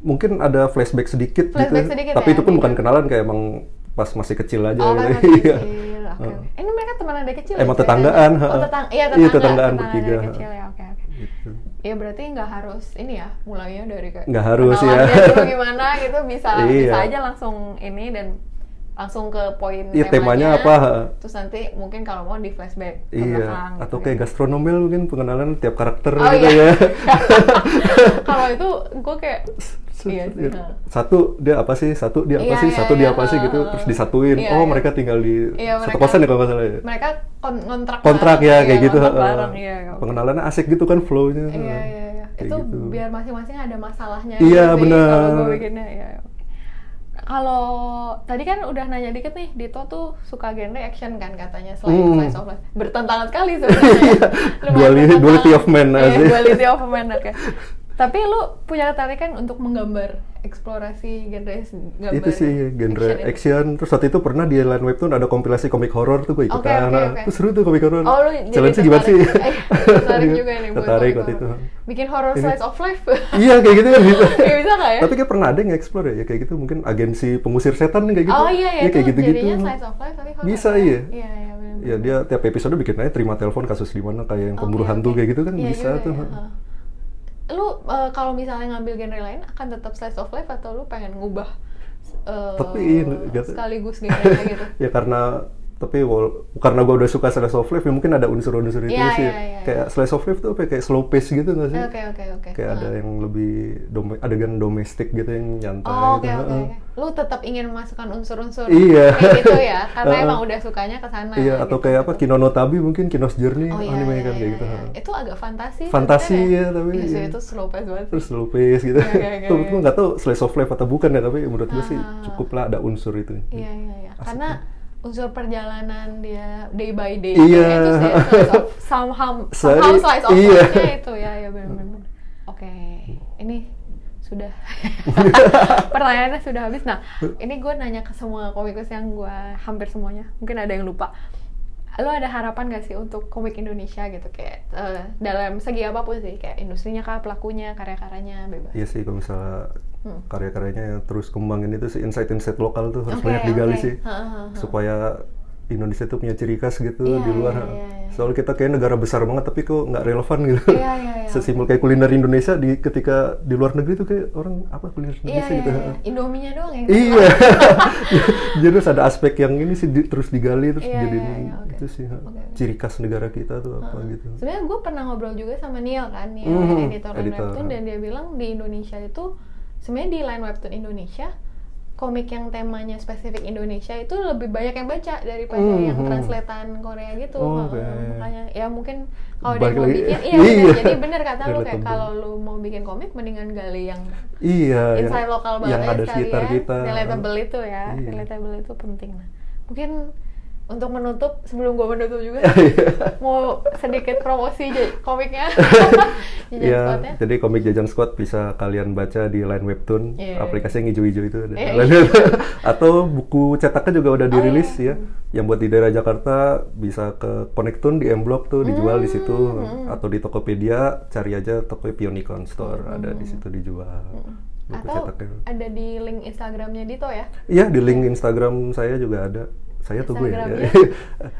Speaker 2: mungkin ada flashback sedikit
Speaker 1: Flashback
Speaker 2: gitu.
Speaker 1: sedikit
Speaker 2: tapi
Speaker 1: ya,
Speaker 2: itu pun
Speaker 1: gitu.
Speaker 2: bukan kenalan kayak emang pas masih kecil aja
Speaker 1: Oh, kan
Speaker 2: gitu.
Speaker 1: masih
Speaker 2: Iya.
Speaker 1: kecil. Oke,
Speaker 2: Heeh. Eh,
Speaker 1: oke. Ini mereka teman dari kecil.
Speaker 2: Emang
Speaker 1: ceritanya?
Speaker 2: tetanggaan,
Speaker 1: Oh,
Speaker 2: heeh.
Speaker 1: tetang iya
Speaker 2: Iya,
Speaker 1: tetangga.
Speaker 2: tetanggaan
Speaker 1: tetangga
Speaker 2: bertiga,
Speaker 1: Dari kecil ya, oke oke.
Speaker 2: Gitu.
Speaker 1: Ya berarti nggak harus ini ya, mulainya dari kayak
Speaker 2: Nggak harus, ya.
Speaker 1: kenalannya dulu gimana gitu bisa bisa
Speaker 2: Iya.
Speaker 1: aja langsung ini dan langsung ke poin
Speaker 2: Iya, temanya apa, heeh.
Speaker 1: Terus nanti mungkin kalau mau di flashback ke
Speaker 2: Iya,
Speaker 1: belakang, gitu
Speaker 2: atau
Speaker 1: ya.
Speaker 2: kayak gastronomil mungkin pengenalan tiap karakter
Speaker 1: Oh,
Speaker 2: gitu
Speaker 1: iya.
Speaker 2: ya.
Speaker 1: kalau itu gue kayak iya sih. heeh.
Speaker 2: Satu dia apa sih? Satu dia apa
Speaker 1: Iya,
Speaker 2: sih?
Speaker 1: iya,
Speaker 2: Satu dia
Speaker 1: iya,
Speaker 2: apa sih gitu
Speaker 1: heeh.
Speaker 2: terus disatuin.
Speaker 1: Iya,
Speaker 2: oh,
Speaker 1: iya.
Speaker 2: mereka tinggal di
Speaker 1: Iya,
Speaker 2: satu
Speaker 1: mereka-
Speaker 2: kosan ya kalau nggak salah ya.
Speaker 1: Mereka kon kontrak
Speaker 2: Kontrak
Speaker 1: bareng,
Speaker 2: ya
Speaker 1: iya,
Speaker 2: kayak gitu.
Speaker 1: kontrak
Speaker 2: heeh.
Speaker 1: bareng, iya, oke.
Speaker 2: Pengenalannya asik gitu kan flow-nya.
Speaker 1: Iya iya iya.
Speaker 2: Kayak
Speaker 1: Itu
Speaker 2: gitu.
Speaker 1: biar masing-masing ada masalahnya.
Speaker 2: Iya,
Speaker 1: gitu sih
Speaker 2: benar.
Speaker 1: Kalau gue bikinnya ya. Kalau tadi kan udah nanya dikit nih, Dito tuh suka genre action kan katanya selain
Speaker 2: Hmm.
Speaker 1: slice of life. Bertentangan sekali sebenarnya. Lumayan
Speaker 2: Duali-
Speaker 1: bertentangan.
Speaker 2: duality of man
Speaker 1: Iya,
Speaker 2: aja.
Speaker 1: duality of man oke. Tapi lu punya ketarikan untuk menggambar eksplorasi genre gambar
Speaker 2: itu sih genre action, terus waktu itu pernah di Line Webtoon ada kompilasi komik horor tuh gue
Speaker 1: Oke, oke,
Speaker 2: ikutan Nah,
Speaker 1: oke.
Speaker 2: Terus seru tuh komik horor
Speaker 1: Oh, lu jadi
Speaker 2: challenge gimana sih Iya.
Speaker 1: tertarik. Eh, tertarik juga nih buat
Speaker 2: tertarik
Speaker 1: komik
Speaker 2: waktu itu
Speaker 1: horor. Bikin horror
Speaker 2: Ini.
Speaker 1: slice of life.
Speaker 2: iya kayak gitu kan bisa
Speaker 1: ya bisa nggak ya?
Speaker 2: tapi kayak pernah ada yang explore ya, ya kayak gitu mungkin agensi pengusir setan nih kayak gitu
Speaker 1: oh iya ya,
Speaker 2: ya kayak
Speaker 1: itu
Speaker 2: gitu gitu
Speaker 1: jadinya slice of life tapi horror.
Speaker 2: Bisa,
Speaker 1: ya? Iya
Speaker 2: iya.
Speaker 1: iya benar.
Speaker 2: ya dia tiap episode bikin aja terima telepon kasus di mana kayak
Speaker 1: Oh,
Speaker 2: yang pemburu
Speaker 1: iya,
Speaker 2: hantu kayak gitu kan bisa tuh
Speaker 1: ya, Lu eh, kalau misalnya ngambil genre lain akan tetap slice of life atau lu pengen ngubah eh,
Speaker 2: Tapi iya, nggak-
Speaker 1: sekaligus genre gitu?
Speaker 2: ya karena tapi wal- karena gue udah suka slice of life ya mungkin ada unsur-unsur itu
Speaker 1: Iya,
Speaker 2: sih
Speaker 1: iya, iya,
Speaker 2: kayak slice of life tuh apa ya, kayak slow pace gitu nggak sih
Speaker 1: Eh, Oke oke oke.
Speaker 2: kayak ada
Speaker 1: Ah.
Speaker 2: yang lebih dom- adegan domestik gitu yang nyantai
Speaker 1: Oh, oke
Speaker 2: gitu.
Speaker 1: oke.
Speaker 2: Heeh.
Speaker 1: oke. Lu tetap ingin memasukkan unsur-unsur
Speaker 2: Iya.
Speaker 1: kayak gitu ya, karena
Speaker 2: Heeh.
Speaker 1: emang udah sukanya ke sana. gitu.
Speaker 2: iya atau kayak apa Kino no Tabi mungkin Kino's Journey
Speaker 1: Oh iya,
Speaker 2: anime
Speaker 1: iya,
Speaker 2: kan kayak
Speaker 1: iya,
Speaker 2: gitu
Speaker 1: iya.
Speaker 2: heeh.
Speaker 1: Itu agak fantasi.
Speaker 2: Fantasi,
Speaker 1: sebenarnya.
Speaker 2: iya, tapi
Speaker 1: Iya, sih,
Speaker 2: iya.
Speaker 1: itu slow pace banget.
Speaker 2: terus slow pace gitu
Speaker 1: Iya, iya, iya,
Speaker 2: tuh
Speaker 1: iya.
Speaker 2: gue nggak tahu slice of life atau bukan ya tapi menurut gue sih
Speaker 1: Ah.
Speaker 2: cukup lah ada unsur itu
Speaker 1: Iya iya iya.
Speaker 2: Asik
Speaker 1: Karena unsur perjalanan dia day by day
Speaker 2: Iya.
Speaker 1: ya, itu sih slice of, somehow
Speaker 2: Sorry.
Speaker 1: somehow slice of
Speaker 2: Iya.
Speaker 1: life-nya itu ya ya benar-benar. Oke, ini sudah pertanyaannya sudah habis. Nah, ini gue nanya ke semua komikus yang gue hampir semuanya, mungkin ada yang lupa. Lo ada harapan gak sih untuk komik Indonesia gitu kayak eh, dalam segi apapun sih kayak industrinya kah, pelakunya, karya-karyanya bebas.
Speaker 2: Iya sih kalau misalnya
Speaker 1: Hmm.
Speaker 2: karya-karyanya yang terus kembangin itu sih insight-insight lokal tuh harus
Speaker 1: Oke,
Speaker 2: banyak digali
Speaker 1: oke.
Speaker 2: sih
Speaker 1: Ha, ha, ha.
Speaker 2: supaya Indonesia tuh punya ciri khas gitu
Speaker 1: Iya,
Speaker 2: di luar.
Speaker 1: iya, iya, iya.
Speaker 2: Soalnya kita kayak negara besar banget tapi kok nggak relevan gitu.
Speaker 1: Iya, iya, iya.
Speaker 2: Sesimpel kayak kuliner Indonesia di ketika di luar negeri tuh kayak orang apa kuliner
Speaker 1: Iya,
Speaker 2: Indonesia
Speaker 1: iya,
Speaker 2: gitu.
Speaker 1: iya. Indominya doang yang
Speaker 2: Iya. jadi harus ada aspek yang ini sih di- terus digali terus
Speaker 1: Iya,
Speaker 2: jadi
Speaker 1: iya, iya, oke.
Speaker 2: itu sih ha.
Speaker 1: Oke, oke.
Speaker 2: ciri khas negara kita tuh apa
Speaker 1: Heeh.
Speaker 2: gitu.
Speaker 1: Sebenarnya gue pernah ngobrol juga sama Neil kan, Neil
Speaker 2: Mhm,
Speaker 1: editor Line
Speaker 2: editor.
Speaker 1: Webtoon dan dia bilang di Indonesia itu sebenarnya di Line Webtoon Indonesia komik yang temanya spesifik Indonesia itu lebih banyak yang baca daripada yang
Speaker 2: Mhm. Oh,
Speaker 1: translatean Korea gitu.
Speaker 2: Oke.
Speaker 1: Heeh, Makanya ya mungkin kalau dia
Speaker 2: Balik
Speaker 1: mau
Speaker 2: lagi.
Speaker 1: bikin iya, bener.
Speaker 2: Iya.
Speaker 1: jadi bener kata lu kayak
Speaker 2: Relatable.
Speaker 1: kalau lu mau bikin komik mendingan gali yang
Speaker 2: Iya. yang-
Speaker 1: insight lokal banget
Speaker 2: yang ada
Speaker 1: sekali
Speaker 2: sekitar
Speaker 1: ya.
Speaker 2: kita.
Speaker 1: relatable itu ya
Speaker 2: Iya.
Speaker 1: relatable itu penting nah mungkin untuk menutup sebelum gue menutup juga
Speaker 2: Iya.
Speaker 1: mau sedikit promosi j- komiknya Jajan
Speaker 2: Iya,
Speaker 1: Squad-nya.
Speaker 2: jadi komik Jajan Squad bisa kalian baca di Line Webtoon,
Speaker 1: Iya.
Speaker 2: aplikasi yang hijau-hijau itu ada.
Speaker 1: Iya, Oh,
Speaker 2: Line Webtoon. Atau buku cetaknya juga udah dirilis ya. Yang buat di daerah Jakarta bisa ke Connectun di M Block tuh dijual di situ
Speaker 1: Hmm,
Speaker 2: atau di Tokopedia cari aja Tokopedia Unicorn Store
Speaker 1: Hmm,
Speaker 2: ada di situ dijual. Buku
Speaker 1: atau
Speaker 2: cetaknya.
Speaker 1: ada di link Instagramnya Dito ya
Speaker 2: Iya, di link Instagram saya juga ada. Saya tuh gue ya.
Speaker 1: Instagramnya?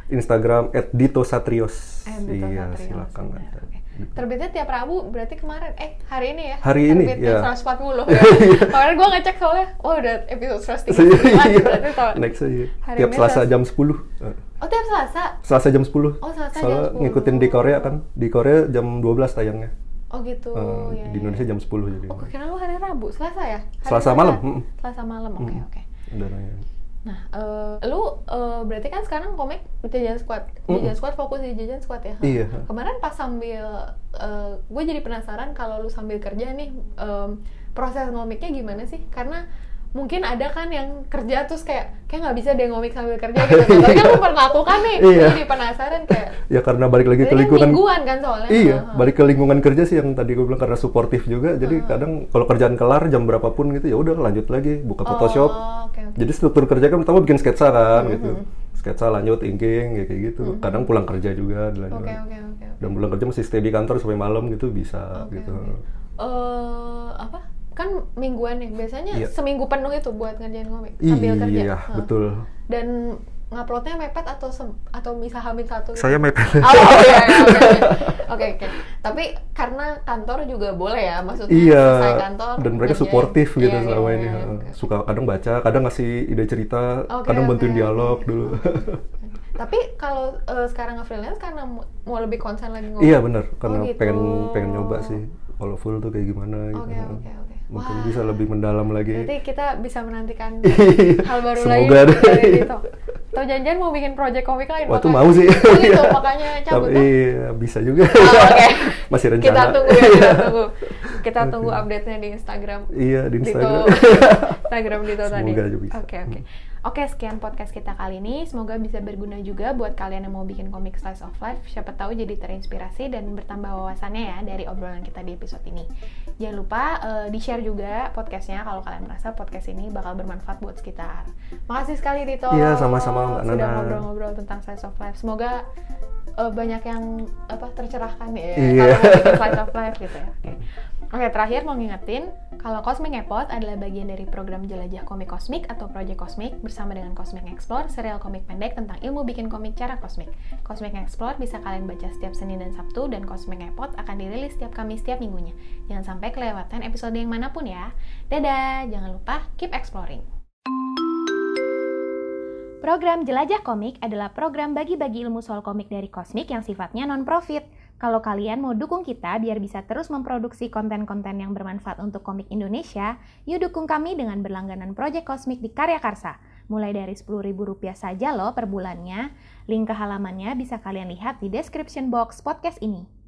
Speaker 2: Instagram @ditosatrios.
Speaker 1: Eh, Dito
Speaker 2: iya,
Speaker 1: Satrio,
Speaker 2: silakan.
Speaker 1: sudah, oke. Terbitnya tiap Rabu, berarti kemarin, eh hari ini ya?
Speaker 2: Hari ini,
Speaker 1: Terbitnya
Speaker 2: ya.
Speaker 1: 140 ya. Kemarin gue ngecek soalnya, oh udah episode 139, gitu, berarti
Speaker 2: iya.
Speaker 1: tahun.
Speaker 2: Next aja.
Speaker 1: Hari
Speaker 2: Tiap
Speaker 1: ini
Speaker 2: Selasa
Speaker 1: Selasa.
Speaker 2: jam 10. Eh,
Speaker 1: Oh tiap Selasa?
Speaker 2: Selasa jam 10.
Speaker 1: Oh, Selasa jam
Speaker 2: Soalnya
Speaker 1: 10.
Speaker 2: ngikutin di Korea kan. Di Korea jam 12 tayangnya.
Speaker 1: Oh gitu,
Speaker 2: Eh,
Speaker 1: ya,
Speaker 2: di
Speaker 1: ya.
Speaker 2: Indonesia jam 10 jadi.
Speaker 1: Oh, gue kira lu hari Rabu, Selasa ya? Hari
Speaker 2: Selasa malam, mm.
Speaker 1: Selasa malam, oke
Speaker 2: Mm.
Speaker 1: oke.
Speaker 2: Udah nanya.
Speaker 1: Nah, eh, lu eh, berarti kan sekarang komik jajan squad, jajan squad fokus di jajan squad ya?
Speaker 2: Iya.
Speaker 1: Kemarin pas sambil, eh, gue jadi penasaran kalau lu sambil kerja nih em, proses ngomiknya gimana sih? Karena mungkin ada kan yang kerja terus kayak kayak nggak bisa deh ngomik sambil kerja gitu. kan. Tapi kan lu pernah lakukan nih, gue
Speaker 2: Iya.
Speaker 1: jadi penasaran kayak.
Speaker 2: Ya karena balik
Speaker 1: Berarti
Speaker 2: lagi ke
Speaker 1: kan
Speaker 2: lingkungan.
Speaker 1: mingguan kan soalnya.
Speaker 2: Iya,
Speaker 1: Ha, ha.
Speaker 2: balik ke lingkungan kerja sih yang tadi gue bilang karena suportif juga.
Speaker 1: Ah,
Speaker 2: Jadi kadang kalau kerjaan kelar jam berapapun gitu ya udah lanjut lagi buka Photoshop.
Speaker 1: Oh, oke, oke.
Speaker 2: Jadi struktur kerja kan pertama bikin sketsa kan gitu.
Speaker 1: Mm-hmm.
Speaker 2: Sketsa lanjut inking ya kayak gitu. Kadang pulang kerja juga dilanjut.
Speaker 1: Oke, oke, oke. oke.
Speaker 2: Dan pulang kerja masih stay di kantor sampai malam gitu bisa
Speaker 1: Oke,
Speaker 2: gitu.
Speaker 1: oke. eh apa kan mingguan nih biasanya
Speaker 2: Iya.
Speaker 1: seminggu penuh itu buat ngerjain komik sambil
Speaker 2: Iya,
Speaker 1: kerja Oh. Hah.
Speaker 2: betul.
Speaker 1: dan nguploadnya mepet atau sem- atau bisa hamil satu gitu?
Speaker 2: Saya mepet.
Speaker 1: Oh, oke oke, oke. oke oke tapi karena kantor juga boleh ya maksudnya selesai
Speaker 2: Iya,
Speaker 1: kantor
Speaker 2: dan mereka
Speaker 1: ngerjain.
Speaker 2: suportif gitu
Speaker 1: Iya,
Speaker 2: selama
Speaker 1: iya,
Speaker 2: ini.
Speaker 1: iya, oke.
Speaker 2: Suka kadang baca, kadang ngasih ide cerita,
Speaker 1: Oke,
Speaker 2: kadang bantuin
Speaker 1: oke, Oh.
Speaker 2: dialog
Speaker 1: oke.
Speaker 2: dulu.
Speaker 1: tapi kalau eh, sekarang nge-freelance karena mau mau lebih konsen lagi ngomong
Speaker 2: iya benar, karena
Speaker 1: gitu.
Speaker 2: pengen pengen nyoba sih kalau full tuh kayak gimana gitu.
Speaker 1: Oke, oke, oke.
Speaker 2: Mungkin
Speaker 1: Wah.
Speaker 2: bisa lebih mendalam lagi.
Speaker 1: Berarti kita bisa menantikan
Speaker 2: Iya.
Speaker 1: hal baru
Speaker 2: Semoga
Speaker 1: lagi
Speaker 2: ada.
Speaker 1: dari Dito. Atau janjian mau bikin project komik lain?
Speaker 2: Wah, tuh
Speaker 1: makanya-
Speaker 2: mau sih. Iya.
Speaker 1: Oh gitu, makanya cabut.
Speaker 2: Tapi
Speaker 1: dong.
Speaker 2: iya, bisa juga.
Speaker 1: Oh, oke.
Speaker 2: Masih rencana.
Speaker 1: Kita tunggu ya, kita tunggu. Kita tunggu update-nya di Instagram.
Speaker 2: Iya, di Instagram.
Speaker 1: Dito. Instagram Dito tadi.
Speaker 2: Semoga aja bisa. Hmm.
Speaker 1: Oke, oke. Oke, sekian podcast kita kali ini. Semoga bisa berguna juga buat kalian yang mau bikin komik slice of life. Siapa tahu jadi terinspirasi dan bertambah wawasannya ya dari obrolan kita di episode ini. Jangan lupa eh, di-share juga podcastnya kalau kalian merasa podcast ini bakal bermanfaat buat sekitar. Makasih sekali Dito.
Speaker 2: Iya, sama-sama, Mbak
Speaker 1: Sudah
Speaker 2: Nana.
Speaker 1: ngobrol-ngobrol tentang slice of life. Semoga eh, banyak yang apa tercerahkan ya
Speaker 2: Iya.
Speaker 1: kalau mau bikin slice of life gitu ya. Oke. Oke, terakhir mau ngingetin, kalau Cosmic Epot adalah bagian dari program Jelajah Komik Kosmik atau Project Kosmik bersama dengan Cosmic Explore, serial komik pendek tentang ilmu bikin komik cara kosmik. Cosmic Explore bisa kalian baca setiap Senin dan Sabtu, dan Cosmic Epot akan dirilis setiap Kamis setiap minggunya. Jangan sampai kelewatan episode yang manapun ya. Dadah, jangan lupa keep exploring. Program Jelajah Komik adalah program bagi-bagi ilmu soal komik dari Kosmik yang sifatnya non-profit. Kalau kalian mau dukung kita biar bisa terus memproduksi konten-konten yang bermanfaat untuk komik Indonesia, yuk dukung kami dengan berlangganan Project Kosmik di Karya Karsa. Mulai dari Rp10.000 saja loh per bulannya. Link ke halamannya bisa kalian lihat di description box podcast ini.